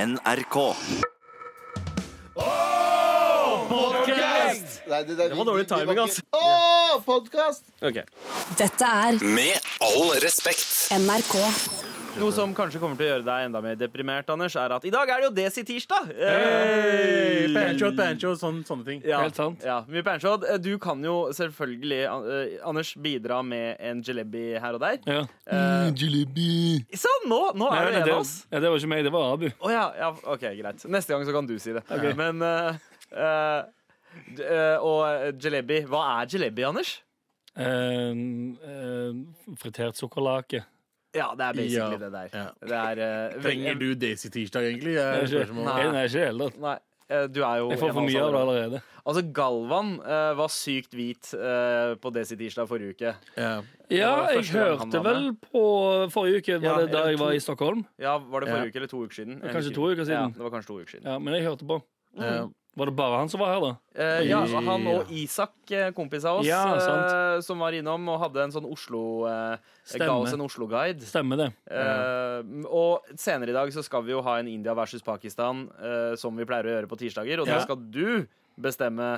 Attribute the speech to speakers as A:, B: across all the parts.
A: NRK.
B: Nei, det, det,
C: var dårlig timing, ass.
B: Åh, podcast!
C: Ok.
D: Dette er
A: Med all respekt.
D: NRK.
C: Noe som kanskje kommer til å gjøre deg enda mer deprimert, Anders, er at i dag er det jo Desi-tirsdag.
E: Hey,
C: Eh,
E: Pancho, Pancho, sånn, sånne ting.
C: Ja,
F: Helt sant.
C: Ja, mye panshod. Eh, Du kan jo selvfølgelig, An- eh, Anders, bidra med en jalebi her og der.
F: Ja.
C: Eh, Sånn, nå, nå er du
F: Nei,
C: en
F: det,
C: av oss.
F: ja, det var ikke meg, det var Abu.
C: Å ja, ja, ok, greit. Neste gang så kan du si det. Men eh, eh, d- eh, Og jalebi. Hva er jalebi, Anders?
F: Eh, eh, fritert sukkerlake.
C: Ja, det er basically
E: Ja.
C: det der.
E: Ja.
C: Det er eh,
E: Trenger
C: veldig-
E: du Daisy Tirsdag, egentlig? Jeg,
F: Det
E: er
F: er ikke,
E: spørsmålet.
F: nei, det er ikke det heller.
C: Nei, eh, du er jo
F: Jeg
C: en
F: får
C: av
F: for
C: oss
F: mye av det
C: allerede.
F: allerede.
C: Altså, Galvan eh, var sykt hvit eh, på Desi Tirsdag forrige uke.
E: ja.
F: Ja,
C: var
F: jeg
C: første gang han
F: hørte
C: var
F: vel på forrige uke,
C: Ja,
F: var det da
C: eller
F: jeg var
C: to.
F: i Stockholm?
C: Ja, Var det forrige
E: Ja.
C: uke eller to uker siden?
F: Kanskje
C: Jeg husker.
F: to uker siden.
C: Ja, det var kanskje to uker siden.
F: Ja, men jeg hørte på.
E: Ja.
C: Mm.
F: Var det bare han som var her, da?
C: Eh, ja, han og Isak, eh, kompis av oss,
F: Ja, sant.
C: eh, som var innom og hadde en sånn Oslo eh, Ga
F: Stemme.
C: oss en Oslo-guide.
F: Stemmer det.
C: Eh, og senere i dag så skal vi jo ha en India versus Pakistan, eh, som vi pleier å gjøre på tirsdager. Og da
F: Ja.
C: skal du bestemme.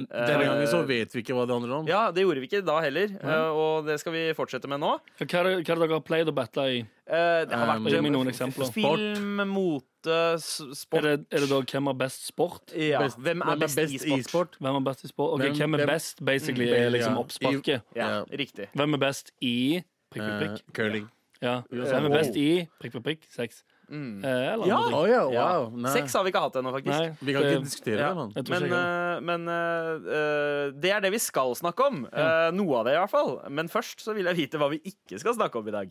E: Eh,
C: eh,
E: Denne gangen så vet vi ikke hva det handler om.
C: Ja, det gjorde vi ikke da heller, eh, og det skal vi fortsette med nå.
F: Hva er det, hva er det dere har pleid å battle i?
C: Eh, det har
E: Um,
C: vært
F: Gi
C: eh,
F: meg noen eksempler.
C: Film, mote, s-
F: Er
C: sport
F: det, er det da hvem har best sport?
C: ja.
E: Best-
C: Hvem er best, i sport?
F: Hvem er best i sport? Ok,
E: Hvem-
F: hvem er
E: hvem-
F: best, basically,
E: Mm,
F: er liksom
E: ja.
F: oppsparket.
C: Ja,
E: Ja.
C: riktig.
F: Hvem er best i prikk,
E: Eh,
F: prikk, prikk?
E: curling.
F: Ja.
E: USA.
F: Hvem er best i prikk, prikk, prikk? Sex.
C: Mm.
F: Eh, Eller
C: Ja.
F: andre
E: Å
F: ting.
E: Oh, ja,
C: Ja.
E: wow. Nei.
C: Sex har vi ikke hatt ennå, faktisk.
F: Nei,
E: Vi kan ikke
F: det-
E: diskutere
C: Ja.
E: det, mann.
F: jeg tror
C: Men,
F: ikke jeg kan.
C: eh, men eh, eh, det er det vi skal snakke om. Eh, noe av det, i hvert fall. Men først så vil jeg vite hva vi ikke skal snakke om i dag.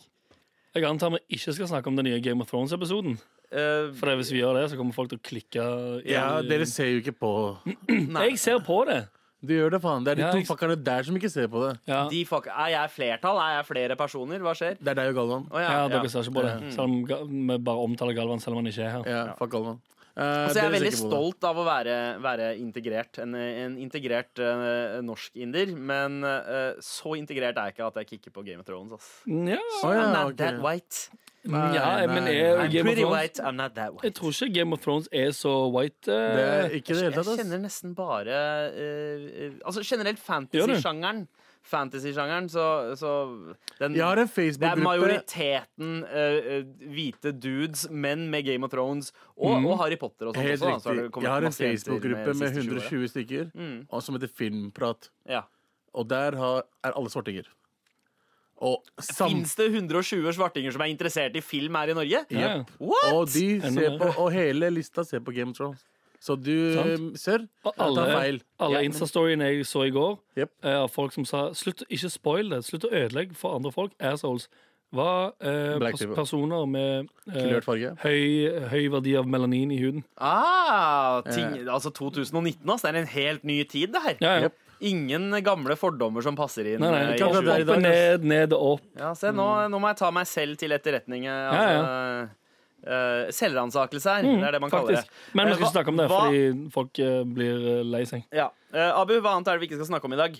F: Jeg antar vi ikke skal snakke om den nye Game of Thrones-episoden.
C: Eh,
F: For det, hvis vi gjør det, så kommer folk til å klikke. i-
E: Ja, dere ser jo ikke på
C: Mm.
F: Jeg ser på det.
E: Du gjør det, faen. Det er de
F: Ja,
E: to
F: jeg-
E: fuckerne der som ikke ser på det.
F: Ja,
C: de fuck, er jeg flertall? Er jeg flere personer? Hva skjer?
E: Det er deg og Galvan.
C: Å,
F: ja, dere
C: ja.
F: ser ikke på det. Selv om Ga- vi bare omtaler Galvan selv om han ikke er her.
E: Mm. Ja, fuck Galvan. Eh,
C: Altså, jeg er
E: dere ser
C: veldig
E: ikke på det.
C: stolt av å være, være integrert. En, en integrert eh, norsk-inder. Men eh, så integrert er jeg ikke at jeg kikker på Game of Thrones. Ass.
F: Ja,
E: Å, ja,
C: I'm not
E: ok.
C: that white.
F: ja men er
C: I'm
F: Game of
C: pretty
F: Thrones
C: white. I'm not that white.
F: Jeg tror ikke Game of Thrones er så white. eh,
E: Det er ikke det
C: Jeg
E: hele tatt, ass.
C: kjenner nesten bare eh, eh, Altså generelt
F: Gjør du?
C: fantasy-sjangeren. Fantasy-sjangeren, så, så den,
E: Jeg har en
C: Det er
E: Facebook-gruppe.
C: majoriteten eh, eh, hvite dudes, menn med Game of Thrones og, og Harry Potter og sånn
E: Mm. Helt
C: også. da. Så har det
E: riktig.
C: kommet
E: Jeg har en
C: masse jenter
E: Facebook-gruppe
C: de siste
E: med
C: Mm. 20 årene.
E: 120 stykker og som heter Filmprat.
C: Ja.
E: Og der har, er alle svartinger. Og, sam,
C: Fins det 120 svartinger som er interessert i film her i Norge?
F: ja, ja.
C: What?!
E: og de
F: Enda
E: ser
F: mer.
E: på Og hele lista ser på Game of Thrones. Så du,
F: Sant.
E: sir,
F: Og
E: jeg tar
F: alle,
E: feil.
F: alle
C: Ja, men-
F: Insta-storyene jeg så i går,
E: Jep.
F: eh, av folk som sa Slutt å ikke spoil det. Slutt å ødelegge for andre folk. Assholes. Var eh,
E: Black
F: pers
E: people.
F: personer med eh,
E: Kulørt farge.
F: høy, høy verdi av melanin i huden.
C: Ah, ting, altså 2019, ass. Det er en helt ny tid, det her.
F: Eh. Ja, ja.
E: Jep.
C: Ingen gamle fordommer som passer inn.
F: Nei, nei,
C: eh, i
F: opp,
E: akkurat der i dag,
F: opp og ned, ned og opp.
C: Ja, se, nå, nå må jeg ta meg selv til etterretning. eh,
F: Mm. Ja, ja. Mm,
C: Altså, eh, selvransakelse her. det er det man kaller
F: Faktisk.
C: det.
F: Men vi
C: Eh,
F: skal
C: hva-
F: ikke snakke om det,
C: hva-
F: fordi folk eh, blir eh, lei seg.
C: Ja. Eh, Abu, hva annet er det vi ikke skal snakke om i dag?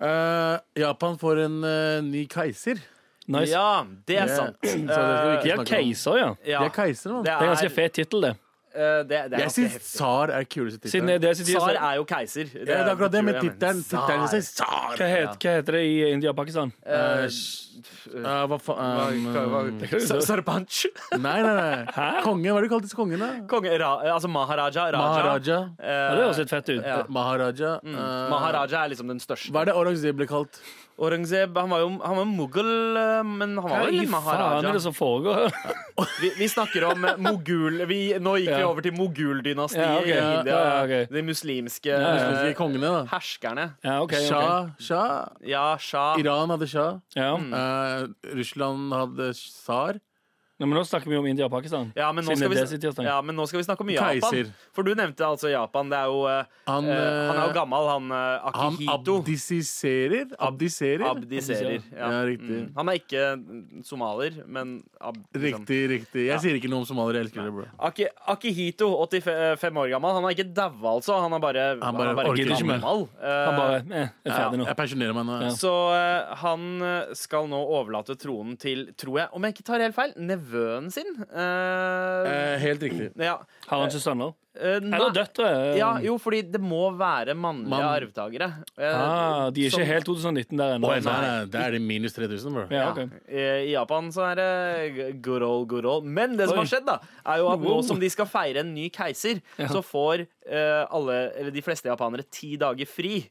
E: Eh, Japan får en eh, ny keiser.
F: Nice. Ja,
C: Ja, det er
E: Yeah.
C: sant.
E: Så det skal vi
C: Eh,
E: ikke
F: de er
E: snakke om.
F: keiser, ja. Det
C: ja.
E: De er keisere, mann.
F: er ganske fet tittel, det.
C: eh, det, det er
E: Jeg
C: ganske
E: syns
C: heftig.
E: tsar er kuleste
F: Siden det
E: tittelen.
F: er det sitt
C: Tsar
F: Hva
C: er jo keiser. Det,
E: Ja, det er akkurat det med
C: tror jeg, men
E: tittelen. Tittelen
C: tsar.
E: sier tsar.
F: het- hva heter det i India og Pakistan?
C: Eh,
E: Eh, hva faen
C: hva- hva-
F: Det kan jo
C: Sa-
F: se-
C: Sarpanch.
E: Nei, nei, nei. Kongen, hva er det du kalte til kongen, da?
C: Konge, ra, eh, altså Maharaja. Raja.
E: Maharaja.
C: Eh,
F: Ja, Mm. det høres litt fett ut.
C: ja.
E: Maharaja. eh,
C: Maharaja er liksom den største.
E: Hva er det Aurangzeb ble kalt?
C: Aurangzeb han var jo han var mughal, eh, men han var
F: Hva
C: vel
F: i
C: litt
F: faen er
C: maharaja.
F: det som foregår?
C: Vi, vi snakker om eh, mogul vi, Nå gikk vi
F: Ja.
C: over til moguldynastiet
F: Ja, ok.
C: i India.
F: Ja, ja, ok.
C: De muslimske
F: ja.
E: Husker
C: eh,
E: ikke kongene, da.
C: herskerne.
F: Ja, ok, ok.
E: Shah. Shah.
C: Ja, shah.
E: Iran hadde shah.
F: Ja.
C: Mm.
E: Eh, Russland hadde tsar.
F: Nei, men nå snakker vi om India og Pakistan.
C: Ja men, nå
F: Siden
C: skal vi,
F: det er sitt tirsdag.
C: ja, men nå skal vi snakke om Japan.
E: Keiser.
C: For du nevnte altså Japan. Det er jo, eh,
E: Han,
C: eh, han er jo
E: eh,
C: gammel, han eh,
E: Han
C: Akihito.
E: abdisiserer. Abdiserer.
C: Abdiserer. Ja.
E: Ja, riktig.
C: Mm. Han er ikke mm, somalier, men ab liksom.
E: Riktig, riktig. Jeg sier ikke noe om somaliere. Jeg elsker det, bro.
C: Aki, Akihito, 85 år gammel. Han har ikke daua, altså. Han er bare,
E: Han bare orker
F: ikke mer.
C: gammel. Eh,
F: Han bare eh, er ferdig nå.
E: Jeg pensjonerer meg nå. jeg.
C: Så eh, han eh, skal nå overlate tronen til, tror jeg, om jeg ikke tar helt feil, nevø nevøen sin. Eh,
E: Eh, helt riktig.
C: ja.
F: Har han ikke sønner?
C: Eh, nei.
F: Eller døtre? eh,
C: Ja, jo, fordi det må være mannlige
E: Mann.
C: arvtakere. Eh,
F: Ah, de er ikke
C: som-
F: helt 2019 der ennå.
E: Oi, nei, nei, det er det minus 3000, bro.
F: Ja, ok.
C: Eh, I Japan så er det gorol, gorol. Men det som
F: Oi.
C: har skjedd, da, er jo at nå
F: Wow.
C: som de skal feire en ny keiser, så får eh, alle, eller de fleste japanere ti dager fri.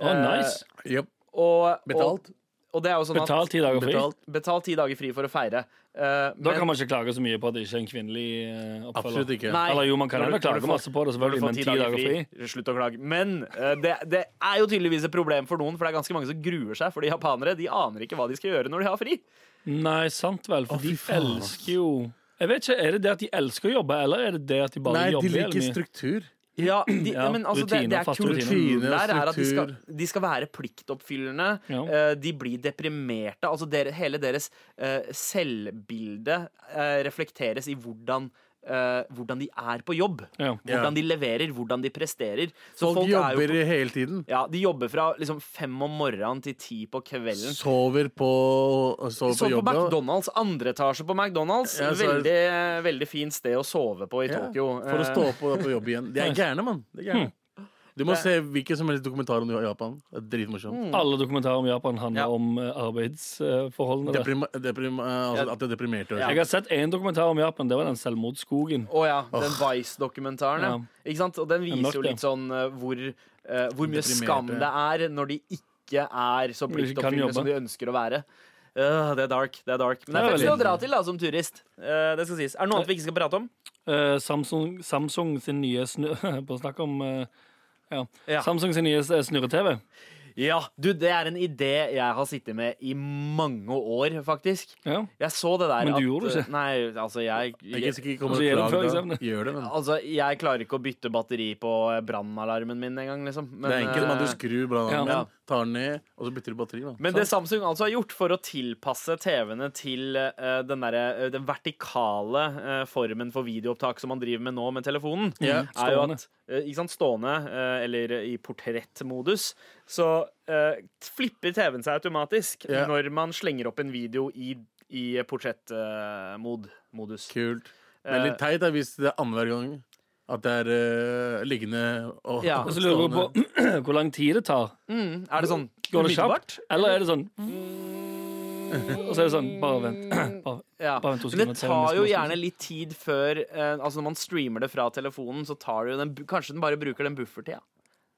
F: Å, nice.
C: Eh,
E: Jep.
C: Og,
E: Betalt.
C: Og, og det er jo sånn at
F: Betalt ti dager fri.
E: Betalt.
C: Betal ti dager fri for å feire. Eh,
F: Da kan
C: men
F: man ikke klage så mye på at det ikke er en kvinnelig eh, oppfølger.
E: Absolutt ikke.
C: Nei.
F: Eller jo, man kan
C: Når du-
F: heller
C: når du
F: klage
C: får-
F: masse på det,
C: når du får
F: selvfølgelig, men ti dager fri
C: Slutt å klage. Men eh, det, det er jo tydeligvis et problem for noen, for det er ganske mange som gruer seg. For de japanere de aner ikke hva de skal gjøre når de har fri.
F: Nei, sant vel, for
E: Å,
F: de
E: fy faen.
F: elsker jo Jeg vet ikke, Er det det at de elsker å jobbe, eller er det det at de bare
E: Nei, de
F: jobber?
E: liker
F: jævlig mye?
E: struktur.
C: Ja, de,
F: Ja,
C: men altså, det,
F: rutiner,
C: det er
F: faste
C: kulturen
E: rutiner.
C: der er at de skal,
E: Struktur.
C: de skal være pliktoppfyllende.
F: Ja.
C: eh, De blir deprimerte. Altså dere, hele deres eh, selvbilde eh, reflekteres i hvordan eh, hvordan de er på jobb.
F: Ja.
C: Hvordan de leverer, hvordan de presterer. Så
E: Folk
C: er jo
E: jobber hele tiden.
C: Ja, De jobber fra liksom fem om morgenen til ti på kvelden.
E: Sover på, sover
C: Så
E: på
C: på
E: jobb. ja.
C: McDonald's, andre etasje på McDonald's.
E: Ja, så er det-
C: veldig, veldig fint sted å sove på i
E: Ja,
C: Tokyo.
E: For å
C: Eh,
E: stå opp og være på jobb igjen. De er gærne, mann. De er gærne. Du må se hvilken som helst dokumentar om Japan. Det er dritmorsomt.
F: Alle dokumentarer om Japan handler
C: Ja.
F: om eh, arbeidsforholdene. der.
E: Deprima, deprim, eh, altså,
C: Ja.
E: at det er deprimerte.
C: Ja.
F: Jeg har sett én dokumentar om Japan. Det var den selvmordsskogen.
C: Å ja, den Vice-dokumentaren. Ja.
F: Ja.
C: Ikke sant? Og den viser
F: mørkt,
C: jo
F: ja.
C: litt sånn eh, hvor, eh, hvor mye
E: Deprimerte.
C: skam det er når de ikke er så
F: de ikke kan
C: pliktoppfyllende
F: jobbe.
C: som de ønsker å være. Øh, det er dark. det er dark Men det er fett
F: Det er
C: å
F: veldig-
C: dra til da, som turist. Eh, det skal sies. Er det noe annet vi ikke skal prate om?
F: Eh, Samsung, Samsung sin nye snø... På snakk om eh, ja.
C: Ja.
F: Samsung sin nye eh, snurre-TV.
C: Ja, du, Det er en idé jeg har sittet med i mange år, faktisk.
F: Ja.
C: Jeg så det der at,
F: Men du gjorde det ikke.
C: Nei, altså, jeg,
E: Jeg er ikke
F: Altså,
E: sikker kommer
F: gjør
E: til å
F: det
E: klage
F: før
E: da.
F: eksamen.
E: Gjør det, men.
C: Altså, jeg klarer ikke å bytte batteri på eh, brannalarmen min engang, liksom. Men,
E: Det er enkelt. Man, du
C: eh,
E: skrur
F: Ja.
E: brannalarmen, tar den ned, og så bytter du batteri. Da.
C: Men det
F: Sånn.
C: Samsung altså har gjort for å tilpasse TV-ene til eh, den, derre, eh, den vertikale eh, formen for videoopptak som man driver med nå med telefonen,
E: Ja,
C: er jo
F: stående.
C: at eh, ikke sant, stående eh, eller i portrettmodus, så eh, flipper TV-en seg automatisk
E: Ja.
C: når man slenger opp en video i, i portrettmodus.
E: Kult. Det er litt teit da, hvis det er annenhver gang at det er eh, liggende og
C: Ja.
F: Og så lurer jeg på hvor lang tid det tar.
C: Mm, er det sånn
F: Går det
C: umiddelbart?
F: kjapt? Eller er det sånn Og så er det sånn Bare vent. Bare.
C: Ja.
F: Bare vent to
C: Men
F: sekunder,
C: det
F: TV-en
C: tar
F: nesten
C: jo
F: må
C: gjerne litt tid før eh, Altså Når man streamer det fra telefonen, så tar det jo den bu- Kanskje den bare bruker den buffertida.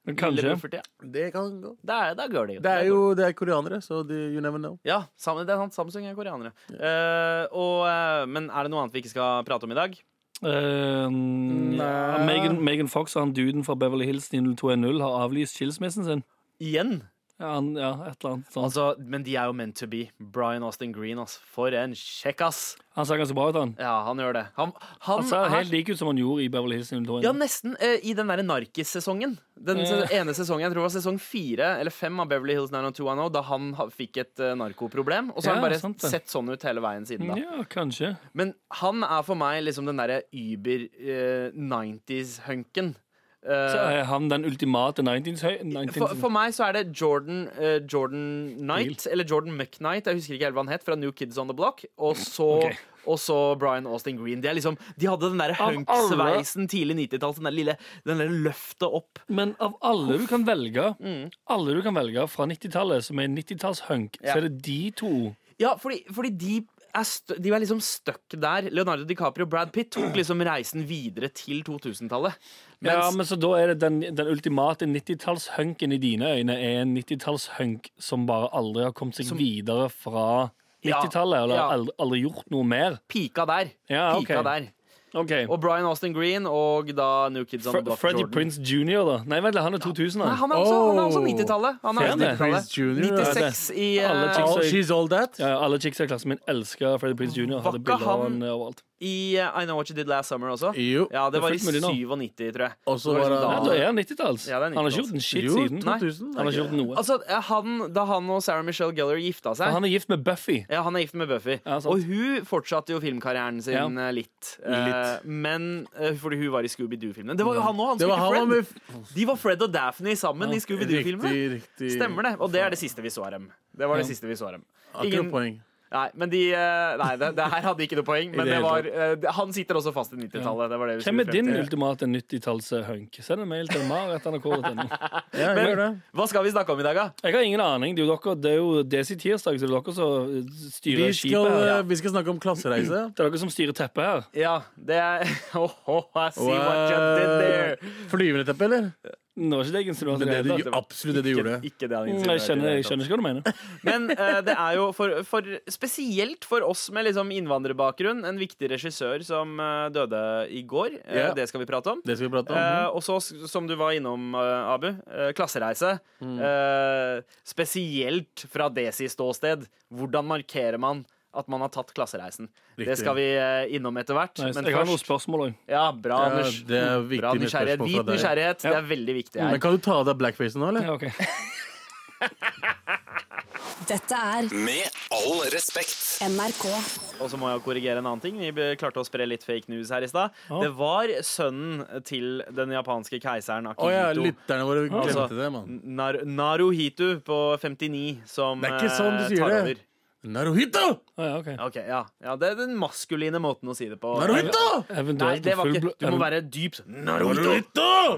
F: Men
C: Lille
F: Kanskje.
C: buffertida.
E: Det kan gå.
C: Da er, da går det jo.
E: Det
C: Da
E: er
C: går
E: jo det er koreanere, så de, you never know.
C: Ja, sam, det er sant. Samsung er koreanere. Eh, og, eh, men er det noe annet vi ikke skal prate om i dag?
F: Eh, ja, Megan, Megan Fox og han duden fra Beverly Hills 90210 har avlyst skilsmissen sin.
C: Igjen?
F: Ja, han, ja et eller annet sånt.
C: Altså, men de er jo meant to be. Brian Austin Green, ass. For en kjekkas!
F: Han ser ganske bra ut, han.
C: Ja, han gjør det. Altså, Han, han,
F: Han ser
C: er
F: helt lik ut som han gjorde i Beverly Hills 90210.
C: Ja, nesten. eh, I den derre narkissesongen. Den se- ene sesongen, jeg tror det var sesong fire eller fem av Beverly Hills 90210, da han ha- fikk et eh, narkoproblem. Og så har
F: Ja,
C: han bare
F: sant det.
C: sett sånn ut hele veien siden da.
F: Ja, kanskje.
C: Men han er for meg liksom den derre über eh, 90s-hunken. Eh,
F: Så er han den ultimate 19... høy- 19
C: for, for meg så er det Jordan, eh, Jordan Knight, eller Jordan McKnight, jeg husker ikke helt hva han het, fra New Kids On The Block. Og så,
F: Ok.
C: og så Brian Austin Green. De, er liksom, de hadde den derre
F: Av
C: hunk-sveisen tidlig 90-tall, den der lille den der løftet opp.
F: Men av alle du kan velge
C: Mm.
F: Alle du kan velge fra 90-tallet, som er 90-tallshunk,
C: Ja.
F: så er det de to.
C: Ja, fordi, fordi de er stø de er liksom stuck der. Leonardo DiCaprio og Brad Pitt tok liksom reisen videre til 2000-tallet. Mens
F: ja, men så da er det Den, den ultimate 90-tallshunken i dine øyne er en 90-tallshunk som bare aldri har kommet seg videre fra
C: Ja,
F: 90-tallet, eller
C: ja.
F: aldri, aldri gjort noe mer.
C: pika der.
F: Ja, ok.
C: Pika der.
F: Ok,
C: Og Brian Austin Green og da New Kids On
F: Fre
C: The Block.
F: Freddie
C: Jordan.
F: Prince Jr., da. Nei, vent, han er 2000,
C: Nei,
F: han.
C: han er også, han er også
E: Oh.
C: 90-tallet. Han er
F: Ser han det?
C: 90-tallet.
E: Prince Junior, er det?
C: 96 i
F: Alle
C: eh,
F: chicks
E: All, she's all that.
F: Ja, alle chicks i klassen min elsker Freddie Prince Jr.
C: Var
F: Hadde
C: ikke
F: bilder av
C: han-
F: han overalt.
C: I eh, I Know What You Did Last Summer også.
E: Jo.
C: Ja, det
F: Det er
C: var i
F: fullt mulig nå.
C: 97, tror jeg.
E: Og så
C: Det
E: var
C: liksom
F: Ja,
E: han-
C: da-
F: da er han 90-talls.
C: Ja, det er
F: han har ikke
C: 90-talls.
F: gjort en shit
E: Jo,
F: siden.
E: 2000.
F: Han har ikke gjort noe.
C: Altså, eh, han, da han og Sarah Michelle Gellar gifta seg
F: Han er gift med Buffy.
C: ja, Han er gift med Buffy.
F: Ja, sant.
C: og hun fortsatte jo filmkarrieren sin
F: Ja.
C: eh, litt. Eh, men eh, fordi hun var i Scooby-Doo-filmen. Det var jo han òg! Han
E: Det var
C: spilte
E: han var
C: Fred.
E: med
C: De var Fred og Daphne sammen i
E: Riktig,
C: Scooby-Doo-filmen.
E: riktig.
C: Stemmer det. Og det er det siste vi så av dem. Det var det
F: Ja.
C: siste vi så av dem.
E: Akkurat
C: Ingen-
E: poeng.
C: Nei, men de eh, Nei, det, det her hadde ikke noe poeng. Men
E: det
C: det
E: hele
C: var, eh, det- han sitter også fast i 90-tallet. Det var det vi
F: Hvem
C: skulle
F: er
C: frem
F: din
C: til.
F: ultimate 90-talls-hunk? Send en mail til mar.nrk.no.
E: Ja, jeg gjør det.
C: Hva skal vi snakke om i dag, da?
F: Jeg har ingen aning. Det er jo dere, det er jo Desi Tirsdag, så det er dere som
E: Vi
F: styrer
E: skal,
F: skipet her.
E: eh, vi skal snakke om klassereise.
F: Det er dere som styrer teppet her.
C: Ja, det er oh, oh, I see what you did there.
E: Wow. Flyvende teppe, eller?
F: Nå var ikke det jeg insinuerte.
E: Men det
F: i
E: du,
F: det hele tatt.
E: absolutt det du gjorde.
C: Ikke, ikke det han
F: Mm,
C: insinuerte
F: Jeg
C: i
F: skjønner,
C: det hele
F: jeg
C: tatt.
F: skjønner ikke hva du mener.
C: Men eh, det er jo for, for spesielt for oss med liksom innvandrerbakgrunn en viktig regissør som eh, døde i går. Eh,
E: Ja.
C: Det skal vi prate om.
E: Det skal vi prate om.
C: Eh, og så, s- som du var innom, eh, Abu, eh, klassereise.
E: Mm.
C: Eh, spesielt fra Desi-ståsted. Hvordan markerer man at man har tatt klassereisen? Det
E: Riktig.
C: skal vi eh, innom etter hvert.
F: Nei,
C: men
F: jeg har noen
C: først
F: spørsmål òg.
C: Ja, bra,
E: Ja,
C: Anders.
E: det er viktig
C: bra
E: med
C: nysgjerrighet.
E: spørsmål fra
C: Hvit
E: deg.
C: nysgjerrighet. Det er veldig viktig her.
E: Men kan du ta av deg blackfacen nå, eller?
F: Ja, ok.
D: Dette er
A: Med all respekt.
D: NRK.
C: Og så må jeg korrigere en annen ting. Vi be- klarte å spre litt fake news her i stad. Det var sønnen til den japanske keiseren
E: Å ja,
C: Akihito.
E: lytterne våre
C: Altså,
E: glemte det, mann.
C: Nar Naruhito på 59 som
E: Det er ikke sånn du
C: eh,
E: sier
C: tar
E: det. Naruhito!
F: Ah, ja, ok.
C: over. Ok, ja. ja, Det er den maskuline måten å si det på.
E: Naruhito!
C: Nei,
F: Eventuelt
C: det var
F: full
C: ikke
F: blå-
C: Du må være dyp. Naruhito!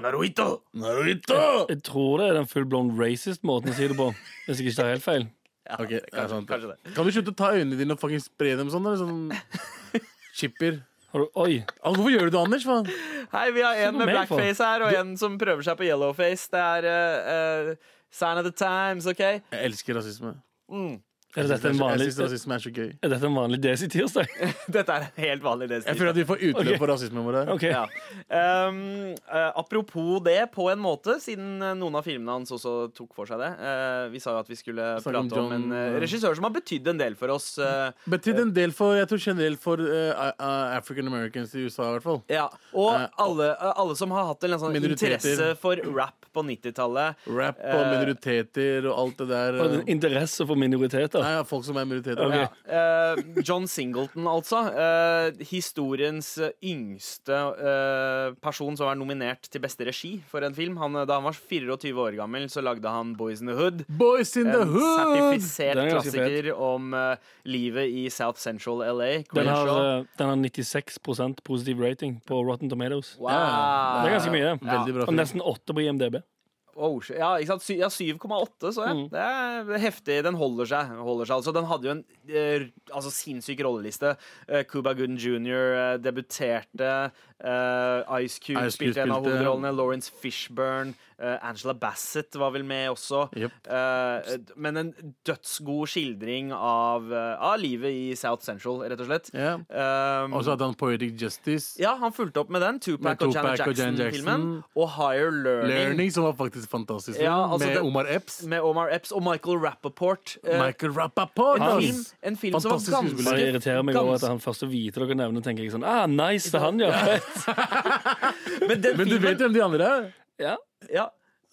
E: Naruhito!
C: Naruhito!
E: Naruhito!
F: Jeg tror det er den fullblown racist-måten å si det på. Hvis jeg ikke tar helt feil.
C: Ja,
E: Ok, det er sant.
C: kanskje det.
E: Kan du slutte å ta øynene dine og fucking spre dem sånn? Eller sånn chipper?
F: Har du, oi,
E: Al, hvorfor gjør du det, Anders? faen?
C: Hei, vi har en
F: noe
C: med
F: mer på.
C: blackface her, og en som prøver seg på yellowface. Det er eh, eh, sign of the times, OK?
E: Jeg elsker rasisme. Mm.
F: er dette en
E: Jeg
F: vanlig
E: syns rasisme er så gøy.
F: er dette en vanlig Desi-tirsdag?
C: Dette er en helt vanlig
E: Jeg
C: destinasjon.
E: føler at vi får utløp
F: Ok.
E: for rasismen vår her.
F: Ok.
C: Ja. Ehm, eh, apropos det, på en måte, siden eh, noen av filmene hans også tok for seg det. Eh, vi sa jo at vi skulle
E: Snakke
C: prate
E: om
C: om,
E: John-
C: en eh, regissør som har betydd en del for oss. eh,
E: Betydd en del for jeg tror generelt for eh, a- a- African Americans i USA, i hvert fall.
C: ja. Og
E: Eh,
C: alle, eh, alle som har hatt en eller annen sånn
E: Minoriteter.
C: interesse for rap på 90-tallet.
E: Rap og
C: Eh,
E: minoriteter og alt det der.
F: Og
E: eh.
F: den interesse for minoriteter.
E: Nei, ja, folk som er minoriteter.
F: Ok.
E: Ja.
C: Ja, eh, John Singleton, altså. eh, historiens yngste eh, person som er nominert til beste regi for en film. Han, eh, da han var 24 år gammel, så lagde han Boys in the Hood.
E: Boys in the
C: En
E: hood!
C: sertifisert
F: Den er ganske
C: klassiker om eh, livet i South Central LA. Queen
F: Den har,
C: Show.
F: eh, den har 96 positiv rating på Rotten Tomatoes.
C: Wow.
E: Ja,
F: Det er ganske mye.
E: Veldig bra
F: Og
E: film.
F: nesten åtte på IMDb.
C: Oh, shit. ja, ikke sant? Sy- ja 7,8 så jeg.
E: Mm.
C: Det er heftig. Den holder seg. Holder seg. Altså, den hadde jo en eh, altså, sinnssyk rolleliste. Eh, Cuba Gooden jr. eh, debuterte. eh, Ice Cube
E: Ice Cube
C: spilte en av
E: spilte-
C: hovedrollene. Lawrence Fishburne. eh, Angela Bassett var vel med også.
E: Jep.
C: Eh, men en dødsgod skildring av, eh, av livet i South Central, rett og slett.
E: Ja.
C: Um,
E: Og så hadde han Poetic Justice.
C: ja, han fulgte opp med den. Tupac,
E: Med
C: og Janet
E: Tupac og Janet
C: Jackson-filmen.
E: Jackson.
C: Og, Higher Learning,
E: Learning, som var faktisk fantastisk.
C: Ja, altså
E: med
C: det-
E: Omar Epps.
C: med Omar Epps og Michael Rappaport. Eh,
E: Michael Rappaport!
C: en
E: ass.
C: film, en film som var
E: Fantastisk
C: ganske
E: skuespiller.
F: Bare irriterer meg over at
C: ganske-
F: han først å vite dere nevner, tenker jeg sånn Ah, nice, det er han, ja. Fett.
C: Men den
E: Men du
C: filmen
E: vet hvem de andre er?
F: ja.
C: ja,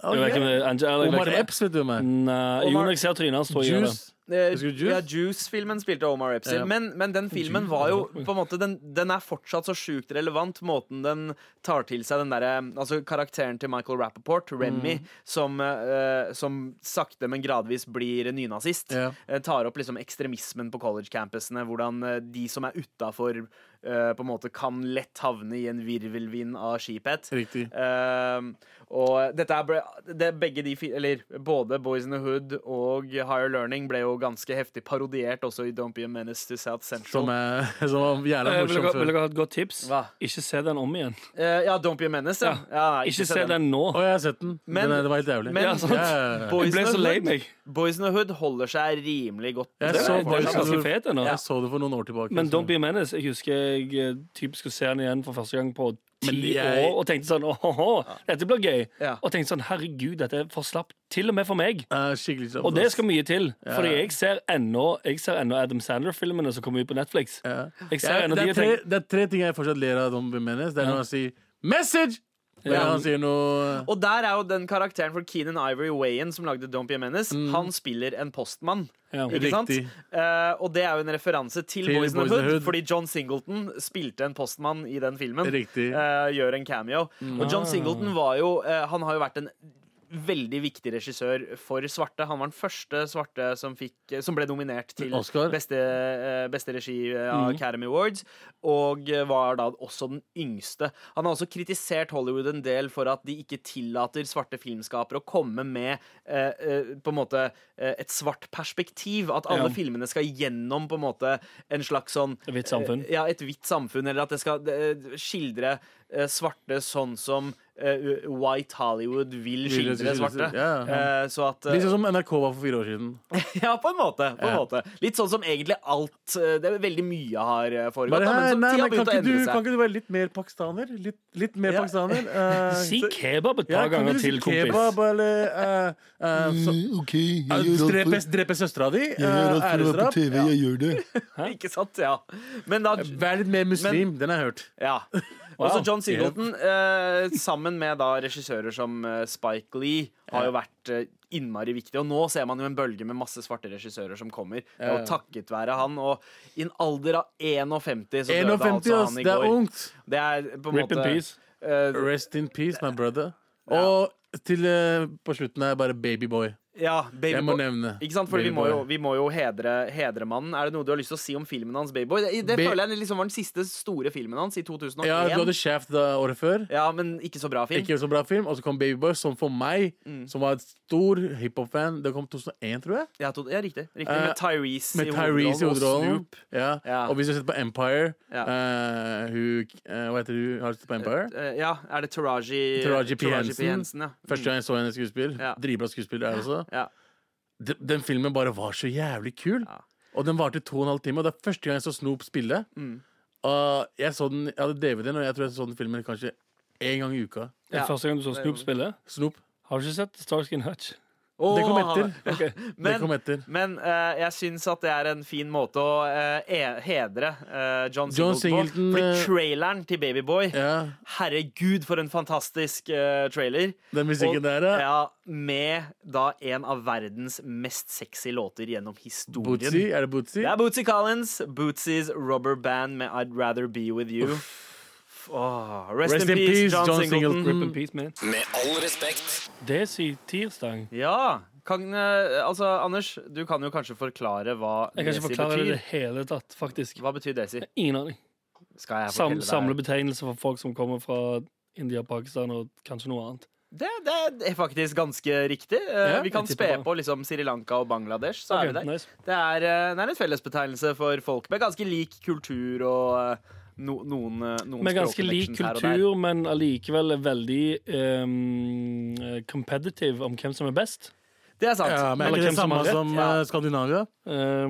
E: Ok.
F: Jeg vet ikke om det er Angela, jeg vet
E: Omar
F: ikke om det-
E: Epps, vet du hvem er.
F: Nei, jo,
C: Omar-
F: når jeg ser trynet hans, tror jeg gjør det.
E: Juice.
C: eh,
E: Husker du Juice?
C: ja, Juice-filmen spilte Omar Epps i.
E: Ja.
C: Men, men den filmen var jo på en måte Den, den er fortsatt så sjukt relevant, måten den tar til seg den derre Altså karakteren til Michael Rappaport, Remy,
E: Mm.
C: som, eh, som sakte, men gradvis blir nynazist.
E: Ja.
C: eh, tar opp liksom ekstremismen på college-campusene. Hvordan eh, de som er utafor, eh, på en måte kan lett havne i en virvelvind av skiphet.
E: Riktig.
C: Ehm, og dette er, ble- det, er begge de fi- Eller både Boys in the Hood og Higher Learning ble jo ganske heftig parodiert også i Don't Be a Menace to South Central.
E: Som, er, som var
F: Eh,
E: jævla
F: Vil
E: morsom
F: dere, vil
E: før.
F: dere ha et godt tips?
C: Hva?
F: Ikke se den om igjen.
C: Eh, ja, Don't Be a Menace, ja.
F: Ja.
C: ja nei,
F: Ikke
C: se
F: se
C: den.
F: den nå.
E: Å, jeg har sett den.
C: Men-
E: den er, det var helt jævlig.
C: men-
E: ja, ja, ja.
C: Boys
F: Jeg ble
C: in the
F: så lei
C: Hood-
F: meg.
C: Boys in the Hood holder seg rimelig godt.
E: Jeg
C: Det er
E: så
C: fortsatt
E: Boys in the
C: ganske
F: ganske
E: Hood.
F: fet ennå.
E: Jeg så det for noen år tilbake.
F: Men
E: så-
F: Don't Be a Menace, jeg husker jeg eh, typ skulle se den igjen for første gang på
E: Men
F: ti
E: jeg-
F: år, og tenkte sånn åhå, dette blir gøy.
C: Ja.
F: Og tenkte sånn herregud, dette er for slapt. Til og med for meg.
E: Ja, skikkelig kjapt,
F: Og det
E: ass.
F: skal mye til, fordi jeg ser ennå Jeg ser ennå Adam Sandler-filmene som kommer ut på Netflix.
E: Ja.
F: Jeg ser
E: Jeg,
F: ennå
E: det,
F: de
E: er
F: og
E: tre,
F: tenker
E: det er tre ting jeg fortsatt ler av Don Bimenes. Det er når han sier 'message'! Når
F: Ja.
E: han sier noe
C: Og der er jo den karakteren for Keenan Ivory Wayan som lagde Don't Be a Menace. Han spiller en postmann.
F: Mm. Ja.
C: Ikke sant?
E: Riktig.
C: Eh, og det er jo en referanse til, Boys in the Hood,
E: Hood.
C: fordi John Singleton spilte en postmann i den filmen.
E: Riktig.
C: Eh, gjør en cameo. Og John Singleton var jo eh, Han eh, har jo vært en veldig viktig regissør for svarte. Han var den første svarte som, fikk, eh, som ble nominert til
E: Oscar.
C: Beste, eh, beste regi eh, av Academy Awards, og eh, var da også den yngste. Han har også kritisert Hollywood en del for at de ikke tillater svarte filmskapere å komme med eh, eh, på en måte eh, et svart perspektiv. At alle
F: Ja.
C: filmene skal gjennom på en måte en slags sånn
F: Et hvitt samfunn.
C: Eh, Ja, et hvitt samfunn, eller at det skal eh, skildre eh, svarte sånn som eh, White Hollywood vil
E: Vil
C: skildre svarte.
E: Ja, ja.
C: Eh, så at eh,
E: Litt sånn som NRK var for fire år siden.
C: Ja, på en måte. På en
E: Ja.
C: måte. Litt sånn som egentlig alt eh, Det er veldig mye har eh, foregått.
E: Bare,
C: da,
E: hei,
C: men
E: nei,
C: som tida
E: men
C: har
E: kan,
C: begynt å
E: ikke du,
C: endre
E: kan
C: seg.
E: ikke du være litt mer pakistaner? Litt, litt mer
C: Ja.
E: pakistaner? eh,
F: Si
E: så-
F: kebab et
E: Ja,
F: par
E: kan
F: ganger
E: du si
F: til, kompis.
E: Kebab eller eh, eh, så, Ja, du dreper, dreper søstera di? eh, Æresdrap?
D: jeg gjør det.
C: Ikke sant? Ja. Men
F: Eh,
C: da
E: Vær litt mer muslim. den har jeg hørt.
C: Ja. Og så John Singleton, eh, sammen med da regissører som eh, Spike Lee, har jo vært eh, innmari viktig. Og nå ser man jo en bølge med masse svarte regissører som kommer. Og takket være han, og i en alder av 51 så døde
E: 51,
C: altså
E: ass.
C: han i
E: Det er
C: går.
E: ungt.
C: Det er på en
F: Rip in
C: måte
F: peace.
C: eh,
E: Rest in peace, my brother. Og til, eh, på slutten er jeg bare babyboy.
C: ja, baby
E: Jeg må
C: Boy.
E: nevne.
C: Ikke sant? For vi
E: Baby
C: må
E: Boy.
C: jo, vi må jo hedre, hedre mannen. Er det noe du har lyst til å si om filmen hans, Babyboy? Det, det
E: Ba-
C: føler jeg liksom var den siste store filmen hans, i 2001.
E: Ja, du hadde Shaft da året før.
C: Ja, men ikke så bra film.
E: Ikke så bra film. Og så kom Babyboy, som for meg,
C: Mm.
E: som var et stor hiphop-fan Det kom 2001, tror jeg.
C: Ja, to, ja, riktig. riktig.
E: Eh,
C: Med Tyrese,
E: Med Tyrese i hovedrollen.
C: og Snoop.
E: Ja.
C: Ja.
E: Og hvis du har sett på Empire
C: Ja.
E: eh, hun, eh, Hva heter hun? Har du sett på Empire?
C: Eh, ja, er det Taraji
E: Taraji P. Henson.
C: ja. Mm.
E: Første gang jeg så henne i skuespill.
C: Ja.
E: Dritbra skuespiller er også.
C: Ja.
E: Den, den filmen bare var så jævlig kul.
C: Ja.
E: Og den varte i to og en halv time. Og det er første gang jeg så Snoop spille.
C: Mm.
E: Og jeg så den, jeg hadde DVD-en, og jeg tror jeg så den filmen kanskje én gang i uka.
F: Det
C: Ja.
F: er første gang du så Snoop spille.
E: Snoop.
F: Har du ikke sett Starsky and Hutch?
C: Åh,
E: Det kom
C: han-
E: etter.
C: Men,
E: det kom etter.
C: men eh, jeg syns at det er en fin måte å eh, e- hedre eh, John,
E: John
C: Singleton
E: Singleton,
C: på.
E: eh,
C: Fordi traileren til Babyboy
E: Ja,
C: Herregud, for en fantastisk eh, trailer.
E: Den musikken der, ja.
C: ja, Med da en av verdens mest sexy låter gjennom historien.
E: Bootsy. Er det Bootsy?
C: Det er Bootsy Collins. Bootsys rubber band med I'd Rather Be With You. Åh, rest, in, peace, John, Singleton.
F: Rip
E: Mm.
F: in peace, man.
A: Med all respekt.
F: Det er si tirsdag.
C: Ja. Kan, eh, altså, Anders, du kan jo kanskje forklare hva
F: Jeg kan ikke
C: Desi
F: forklare det i
C: betyr.
F: det hele tatt, faktisk.
C: Hva betyr Desi?
F: Ingen aning.
C: Skal jeg
F: Sam,
C: fortelle deg?
F: Samlebetegnelse for folk som kommer fra India, Pakistan og kanskje noe annet.
C: Det, det er faktisk ganske riktig. Eh,
E: Ja,
C: vi kan
F: jeg
C: spe
F: tipper på.
C: på liksom Sri Lanka og Bangladesh, så er
F: Ok,
C: vi der.
F: nice.
C: Det er, eh, det er en fellesbetegnelse for folk med ganske lik kultur og eh, no, noen, eh, noen
F: Med ganske lik
C: språkconnections her og der.
F: kultur, men allikevel er veldig ehm, eh, competitive om hvem som er best.
C: Det er sant.
E: Ja, men er
F: Eller hvem
E: ikke det
F: som
E: samme
F: har rett,
E: som
C: ja.
E: eh, Skandinavia?